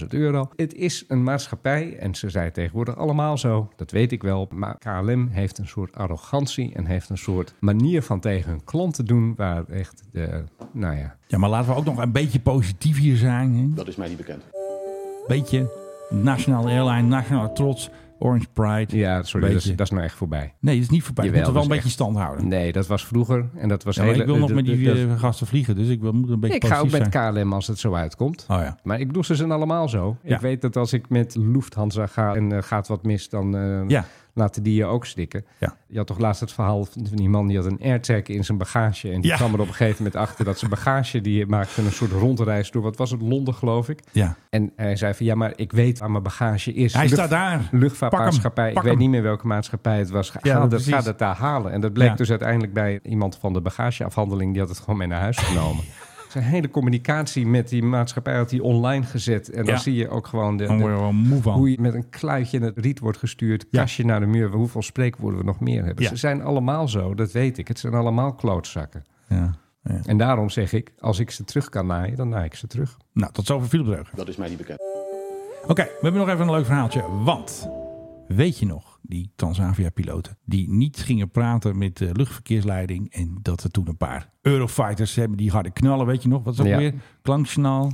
[SPEAKER 6] 15.000 euro. Het is een maatschappij en ze zijn tegenwoordig allemaal zo, dat weet ik wel, maar KLM heeft een soort arrogantie en heeft een soort manier van tegen hun klanten doen waar echt, de, nou ja,
[SPEAKER 5] Ja, maar laten we ook nog een beetje positief hier zijn. Dat
[SPEAKER 16] is mij niet bekend.
[SPEAKER 5] Beetje Nationale Airline, Nationale Trots, Orange Pride.
[SPEAKER 6] Ja, sorry, dat
[SPEAKER 5] Beetje.
[SPEAKER 6] is, dat is nou echt voorbij.
[SPEAKER 5] Nee, dat is niet voorbij. Je moet
[SPEAKER 6] Jawel,
[SPEAKER 5] er wel een
[SPEAKER 6] dat
[SPEAKER 5] beetje
[SPEAKER 6] is echt-
[SPEAKER 5] stand houden.
[SPEAKER 6] Nee, dat was vroeger en dat was
[SPEAKER 5] Ja, maar
[SPEAKER 6] hele...
[SPEAKER 5] ik wil nog
[SPEAKER 6] dat-
[SPEAKER 5] met die
[SPEAKER 6] dat-
[SPEAKER 5] eh, gasten vliegen, dus ik wil, moet een beetje
[SPEAKER 6] ik ga ook
[SPEAKER 5] positief
[SPEAKER 6] met
[SPEAKER 5] zijn.
[SPEAKER 6] KLM als het zo uitkomt.
[SPEAKER 5] Oh ja.
[SPEAKER 6] Maar ik doe ze zijn allemaal zo.
[SPEAKER 5] Ja.
[SPEAKER 6] Ik weet dat als ik met Lufthansa ga en eh, gaat wat mis, dan eh,
[SPEAKER 5] Ja.
[SPEAKER 6] laten die je ook stikken.
[SPEAKER 5] Ja.
[SPEAKER 6] Je had toch laatst het verhaal van die man die had een airtag in zijn bagage. En die
[SPEAKER 5] Ja.
[SPEAKER 6] kwam er op een gegeven moment achter dat zijn bagage, die maakte een soort rondreis door, wat was het, Londen geloof ik.
[SPEAKER 5] Ja.
[SPEAKER 6] En hij zei van, ja, maar ik weet waar mijn bagage is.
[SPEAKER 5] Hij staat daar. Pak
[SPEAKER 6] Luchtvaartmaatschappij,
[SPEAKER 5] hem,
[SPEAKER 6] ik
[SPEAKER 5] pak
[SPEAKER 6] weet
[SPEAKER 5] hem.
[SPEAKER 6] niet meer welke maatschappij het was. Ga,
[SPEAKER 5] Ja,
[SPEAKER 6] dat,
[SPEAKER 5] precies.
[SPEAKER 6] ga dat daar halen. En dat bleek
[SPEAKER 5] Ja.
[SPEAKER 6] dus uiteindelijk bij iemand van de bagageafhandeling, die had het gewoon mee naar huis
[SPEAKER 5] [LAUGHS]
[SPEAKER 6] genomen. Zijn hele communicatie met die maatschappij had hij online gezet. En dan
[SPEAKER 5] Ja.
[SPEAKER 6] zie je ook gewoon de,
[SPEAKER 5] Dan
[SPEAKER 6] de-
[SPEAKER 5] word je wel moe van.
[SPEAKER 6] hoe je met een kluitje in het riet wordt gestuurd.
[SPEAKER 5] Ja.
[SPEAKER 6] Kastje naar de muur. Hoeveel spreekwoorden we nog meer hebben.
[SPEAKER 5] Ja.
[SPEAKER 6] Ze zijn allemaal zo, dat weet ik. Het zijn allemaal klootzakken.
[SPEAKER 5] Ja. Ja.
[SPEAKER 6] En daarom zeg ik, als ik ze terug kan naaien, dan naai ik ze terug.
[SPEAKER 5] Nou, tot zover Philip Dreugen.
[SPEAKER 16] Dat is mij niet bekend.
[SPEAKER 5] Oké, we hebben nog even een leuk verhaaltje. Want, weet je nog, die Transavia-piloten... die niet gingen praten met de luchtverkeersleiding... en dat er toen een paar Eurofighters hebben die harde knallen. Weet je nog, wat is dat
[SPEAKER 6] Ja.
[SPEAKER 5] weer? Klanksignaal,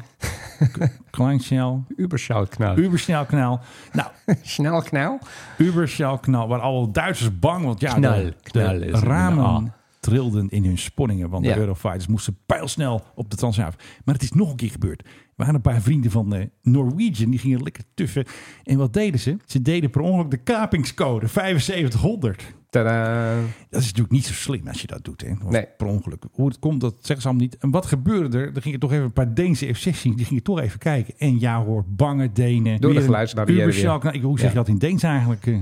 [SPEAKER 5] klanksignaal,
[SPEAKER 6] Uberschoutknaal.
[SPEAKER 5] Uberschnelknaal. Nou,
[SPEAKER 6] Snelknaal?
[SPEAKER 5] Uberschnelknaal, waar alle Duitsers bang... want ja,
[SPEAKER 6] Knal,
[SPEAKER 5] de,
[SPEAKER 6] knal
[SPEAKER 5] de
[SPEAKER 6] is het. Ah.
[SPEAKER 5] ramen trilden in hun sponningen... want
[SPEAKER 6] Ja.
[SPEAKER 5] de Eurofighters moesten pijlsnel op de Transavia. Maar het is nog een keer gebeurd. Er waren een paar vrienden van eh, Norwegian, die gingen lekker tuffen. En wat deden ze? Ze deden per ongeluk de kapingscode 7500.
[SPEAKER 6] Tadaa.
[SPEAKER 5] Dat is natuurlijk niet zo slim als je dat doet, hè? Of
[SPEAKER 6] Nee.
[SPEAKER 5] Per ongeluk. Hoe het komt, dat zeggen ze allemaal niet. En wat gebeurde er? Er gingen toch even een paar Deense F-16, die gingen toch even kijken. En ja hoor, bange Denen.
[SPEAKER 6] Door de
[SPEAKER 5] Weer een
[SPEAKER 6] geluidsbarrière weer.
[SPEAKER 5] Uberschalk. Nou, ik- Hoe zeg
[SPEAKER 6] Ja.
[SPEAKER 5] je dat in Deens eigenlijk? eh?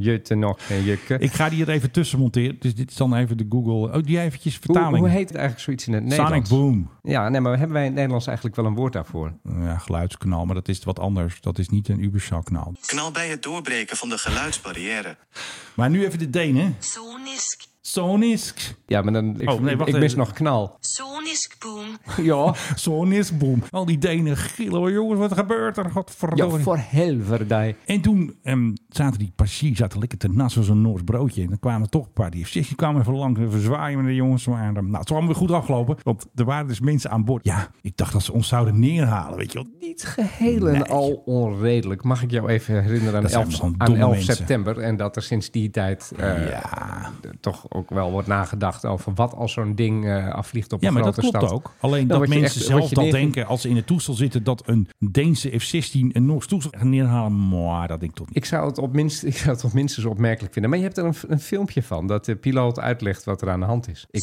[SPEAKER 6] Jutte nog en jukke.
[SPEAKER 5] Ik ga die er even tussen monteren. Dus dit is dan even de Google. Oh, die eventjes
[SPEAKER 6] Hoe,
[SPEAKER 5] vertaling.
[SPEAKER 6] hoe heet het eigenlijk zoiets in het Nederlands?
[SPEAKER 5] Sonic Boom.
[SPEAKER 6] Ja, nee, maar hebben wij in het Nederlands eigenlijk wel een woord daarvoor?
[SPEAKER 5] Ja, geluidskanaal, maar dat is wat anders. Dat is niet een Uberschalkanaal.
[SPEAKER 17] Knal bij het doorbreken van de geluidsbarrière.
[SPEAKER 5] Maar nu even de Denen. Sonisk.
[SPEAKER 6] Ja, maar dan, ik,
[SPEAKER 5] Oh, nee, wacht
[SPEAKER 6] ik mis
[SPEAKER 5] even.
[SPEAKER 6] nog knal.
[SPEAKER 17] Sonisk boom.
[SPEAKER 6] [LAUGHS] Ja.
[SPEAKER 5] Soniskboom. Al die Denen gillen. hoor. Jongens, wat gebeurt er? Godverdomme.
[SPEAKER 6] Ja, voor helverdij.
[SPEAKER 5] En toen ehm, zaten die passagiers zaten lekker te nas als een Noors broodje. En dan kwamen er toch een paar die f Die kwamen even langs even zwaaien met de jongens. Maar, ehm, nou, het is allemaal weer goed afgelopen. Want er waren dus mensen aan boord. Ja, ik dacht dat ze ons zouden neerhalen, weet je wel.
[SPEAKER 6] Niet geheel en al onredelijk. Mag ik jou even herinneren aan
[SPEAKER 5] Dat zijn
[SPEAKER 6] 11,
[SPEAKER 5] van
[SPEAKER 6] aan
[SPEAKER 5] domme
[SPEAKER 6] 11
[SPEAKER 5] mensen.
[SPEAKER 6] september? En dat er sinds die tijd eh, toch ook wel wordt nagedacht over wat als zo'n ding eh, afvliegt op
[SPEAKER 5] Ja,
[SPEAKER 6] een
[SPEAKER 5] maar
[SPEAKER 6] grote
[SPEAKER 5] dat
[SPEAKER 6] grote
[SPEAKER 5] klopt
[SPEAKER 6] stad.
[SPEAKER 5] ook. Alleen
[SPEAKER 6] Dan
[SPEAKER 5] dat
[SPEAKER 6] word je
[SPEAKER 5] mensen
[SPEAKER 6] echt-
[SPEAKER 5] zelf
[SPEAKER 6] word je
[SPEAKER 5] dat
[SPEAKER 6] neerge-
[SPEAKER 5] denken als ze in het toestel zitten dat een Deense F-16 een Noors toestel gaat neerhalen. Maar dat denk ik toch niet.
[SPEAKER 6] Ik zou, het op minst, ik zou het op minstens opmerkelijk vinden. Maar je hebt er een, een filmpje van dat de piloot uitlegt wat er aan de hand is. Ik,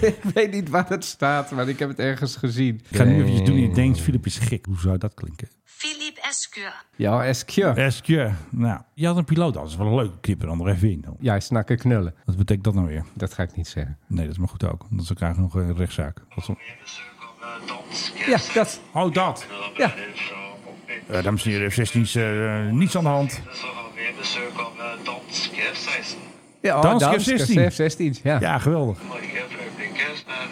[SPEAKER 6] ik weet niet waar het staat, maar ik heb het ergens gezien.
[SPEAKER 5] Ik ga nu even doen in het Deens. Filip is gek. Hoe zou dat klinken?
[SPEAKER 16] Philippe Escure.
[SPEAKER 6] Ja, Eskje.
[SPEAKER 5] Eskje. Nou, je had een piloot. Dat is wel een leuke knip er dan nog even in. Dan.
[SPEAKER 6] Ja, snakken knullen.
[SPEAKER 5] Wat betekent dat nou weer?
[SPEAKER 6] Dat ga ik niet zeggen.
[SPEAKER 5] Nee, dat is maar goed ook. Want ze krijgen nog een rechtszaak. Dat is wel-
[SPEAKER 6] Ja, dat.
[SPEAKER 5] Oh, dat.
[SPEAKER 6] Ja.
[SPEAKER 5] Eh, dames en heren, F-16 is eh, niets aan de hand.
[SPEAKER 6] Ja,
[SPEAKER 5] Dansk
[SPEAKER 6] Dansk
[SPEAKER 5] F-16.
[SPEAKER 6] F-16. Ja.
[SPEAKER 5] Ja, geweldig.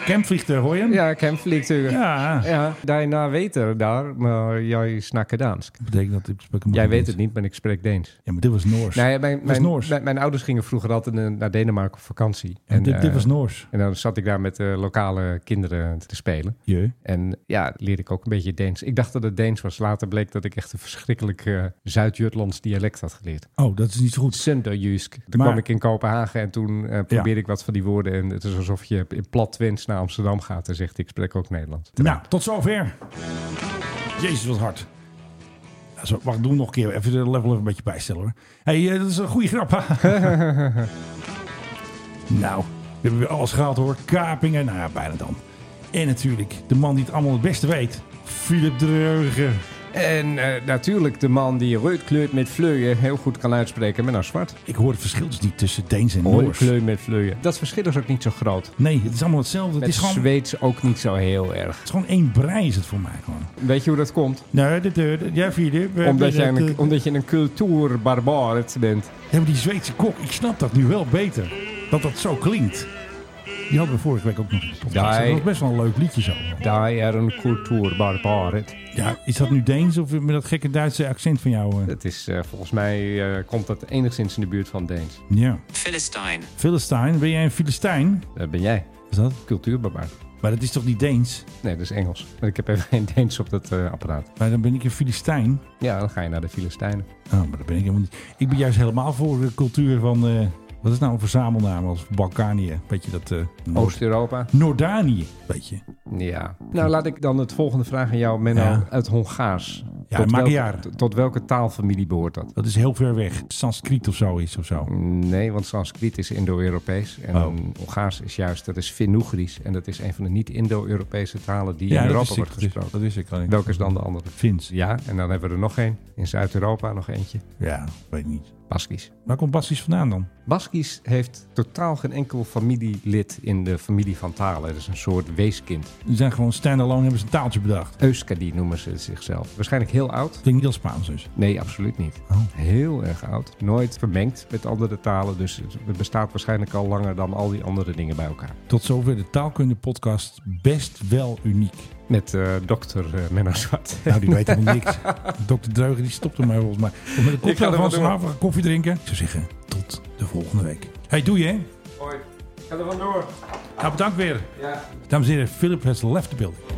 [SPEAKER 5] Campvliegtuig, hoor je hem?
[SPEAKER 6] Ja, campvliegtuig.
[SPEAKER 5] Ja.
[SPEAKER 6] ja. Daarna weet er daar, maar jij snakken Dansk.
[SPEAKER 5] Betekent dat ik spreek hem
[SPEAKER 6] Jij
[SPEAKER 5] ook
[SPEAKER 6] weet
[SPEAKER 5] niet.
[SPEAKER 6] het niet, maar ik spreek Deens.
[SPEAKER 5] Ja, maar dit was Noors.
[SPEAKER 6] Nou ja, mijn,
[SPEAKER 5] Dit was
[SPEAKER 6] mijn,
[SPEAKER 5] Noors.
[SPEAKER 6] mijn, mijn ouders gingen vroeger altijd eh, naar Denemarken op vakantie.
[SPEAKER 5] En dit- dit
[SPEAKER 6] eh,
[SPEAKER 5] was Noors.
[SPEAKER 6] En dan zat ik daar met eh, lokale kinderen te spelen.
[SPEAKER 5] Jee.
[SPEAKER 6] En ja, leerde ik ook een beetje Deens. Ik dacht dat het Deens was. Later bleek dat ik echt een verschrikkelijk eh, Zuid-Jutlands dialect had geleerd.
[SPEAKER 5] Oh, dat is niet zo goed.
[SPEAKER 6] Sunderjusk. Toen
[SPEAKER 5] Maar-
[SPEAKER 6] kwam ik in Kopenhagen en toen eh, probeerde ik wat van die woorden. En het is alsof je in plat Twents naar Amsterdam gaat en zegt ik spreek ook Nederlands.
[SPEAKER 5] Nou, tot zover. Jezus, wat hard. Ja, zo, wacht, doe hem nog een keer. Even de level even een beetje bijstellen hoor. Hé, hey, eh, dat is een goede grap. [LAUGHS] nou, we hebben weer alles gehad hoor. Kapingen, nou ja, bijna dan. En natuurlijk, de man die het allemaal het beste weet. Philip Dreugen.
[SPEAKER 6] En eh, natuurlijk de man die rood kleurt met vleuien heel goed kan uitspreken met een zwart.
[SPEAKER 5] Ik hoor het verschil dus niet tussen Deens en
[SPEAKER 6] Rood
[SPEAKER 5] Noors.
[SPEAKER 6] kleur met vleuien. Dat verschil is ook niet zo groot.
[SPEAKER 5] Nee, het is allemaal hetzelfde.
[SPEAKER 6] Met
[SPEAKER 5] het is gewoon,
[SPEAKER 6] Zweeds ook niet zo heel erg.
[SPEAKER 5] het is gewoon één brei is het voor mij gewoon.
[SPEAKER 6] Weet je hoe dat komt?
[SPEAKER 5] Nee, de deur. Ja, Philip. eh,
[SPEAKER 6] Omdat, jij
[SPEAKER 5] dat,
[SPEAKER 6] een,
[SPEAKER 5] eh,
[SPEAKER 6] omdat je een cultuurbarbaar bent.
[SPEAKER 5] Ja, maar die Zweedse kok, ik snap dat nu wel beter. Dat dat zo klinkt. Die hadden we vorige week ook nog in de podcast.
[SPEAKER 6] Nee.
[SPEAKER 5] Dat was best wel een leuk liedje zo.
[SPEAKER 6] Die er een cultuurbarbaar.
[SPEAKER 5] Ja, is dat nu Deens of met dat gekke Duitse accent van jou? eh?
[SPEAKER 6] Dat is eh, volgens mij eh, komt dat enigszins in de buurt van Deens.
[SPEAKER 5] Ja.
[SPEAKER 17] Philistine.
[SPEAKER 5] Filistijn, ben jij een Filistijn?
[SPEAKER 6] Dat Eh, ben jij.
[SPEAKER 5] Is dat?
[SPEAKER 6] Cultuurbarbaar.
[SPEAKER 5] Maar dat is toch niet Deens?
[SPEAKER 6] Nee, dat is Engels. Maar ik heb even geen Deens op dat eh, apparaat.
[SPEAKER 5] Maar dan ben ik een Filistijn.
[SPEAKER 6] Ja, dan ga je naar de Filistijnen.
[SPEAKER 5] Oh, maar dat ben ik helemaal niet. Ik ben juist helemaal voor de cultuur van... eh, wat is nou een verzamelnaam als Balkanië? Weet je dat... eh, Noord-
[SPEAKER 6] Oost-Europa.
[SPEAKER 5] Noordanië, weet je.
[SPEAKER 6] Ja. Nou, laat ik dan het volgende vraag aan jou, Menno.
[SPEAKER 5] Ja.
[SPEAKER 6] Uit Hongaars.
[SPEAKER 5] Ja,
[SPEAKER 6] Tot
[SPEAKER 5] maakt niet
[SPEAKER 6] welke-
[SPEAKER 5] uit.
[SPEAKER 6] Tot welke taalfamilie behoort dat?
[SPEAKER 5] Dat is heel ver weg. Sanskriet of zo is of zo.
[SPEAKER 6] Nee, want Sanskriet is Indo-Europees. En
[SPEAKER 5] Oh.
[SPEAKER 6] Hongaars is juist, dat is Finno-Grieks. En dat is een van de niet-Indo-Europese talen die
[SPEAKER 5] Ja,
[SPEAKER 6] in
[SPEAKER 5] dat
[SPEAKER 6] Europa
[SPEAKER 5] wist ik,
[SPEAKER 6] wordt
[SPEAKER 5] dat wist-
[SPEAKER 6] gesproken.
[SPEAKER 5] dat wist ik al niet.
[SPEAKER 6] Welke is dan de andere?
[SPEAKER 5] Fins.
[SPEAKER 6] Ja, en dan hebben we er nog één. In Zuid-Europa nog eentje.
[SPEAKER 5] Ja, weet niet.
[SPEAKER 6] Baskisch.
[SPEAKER 5] Waar komt Bastisch vandaan dan?
[SPEAKER 6] Baskisch heeft totaal geen enkel familielid in de familie van talen. Dat is een soort weeskind.
[SPEAKER 5] Die zijn gewoon standalone, hebben ze een taaltje bedacht.
[SPEAKER 6] Euskadi noemen ze zichzelf. Waarschijnlijk heel oud.
[SPEAKER 5] Klinkt niet als Spaans dus.
[SPEAKER 6] Nee, absoluut niet.
[SPEAKER 5] Oh.
[SPEAKER 6] Heel erg oud. Nooit vermengd met andere talen. Dus het bestaat waarschijnlijk al langer dan al die andere dingen bij elkaar.
[SPEAKER 5] Tot zover de taalkunde podcast best wel uniek.
[SPEAKER 6] Met eh dokter eh Menno Zwart.
[SPEAKER 5] Nou, die weet helemaal
[SPEAKER 6] [LAUGHS]
[SPEAKER 5] niks. Dr. Dreugen die stopt mij volgens mij. Om met een
[SPEAKER 6] Ik ga
[SPEAKER 5] cocktail
[SPEAKER 6] er
[SPEAKER 5] van
[SPEAKER 6] wat
[SPEAKER 5] zijn
[SPEAKER 6] doen.
[SPEAKER 5] avond koffie drinken. Ik zou zeggen, tot de volgende week. Hey, doe je hè?
[SPEAKER 6] Hoi. Ga er vandoor.
[SPEAKER 5] Nou, bedankt weer.
[SPEAKER 6] Ja.
[SPEAKER 5] Dames en heren, Philip has left the building.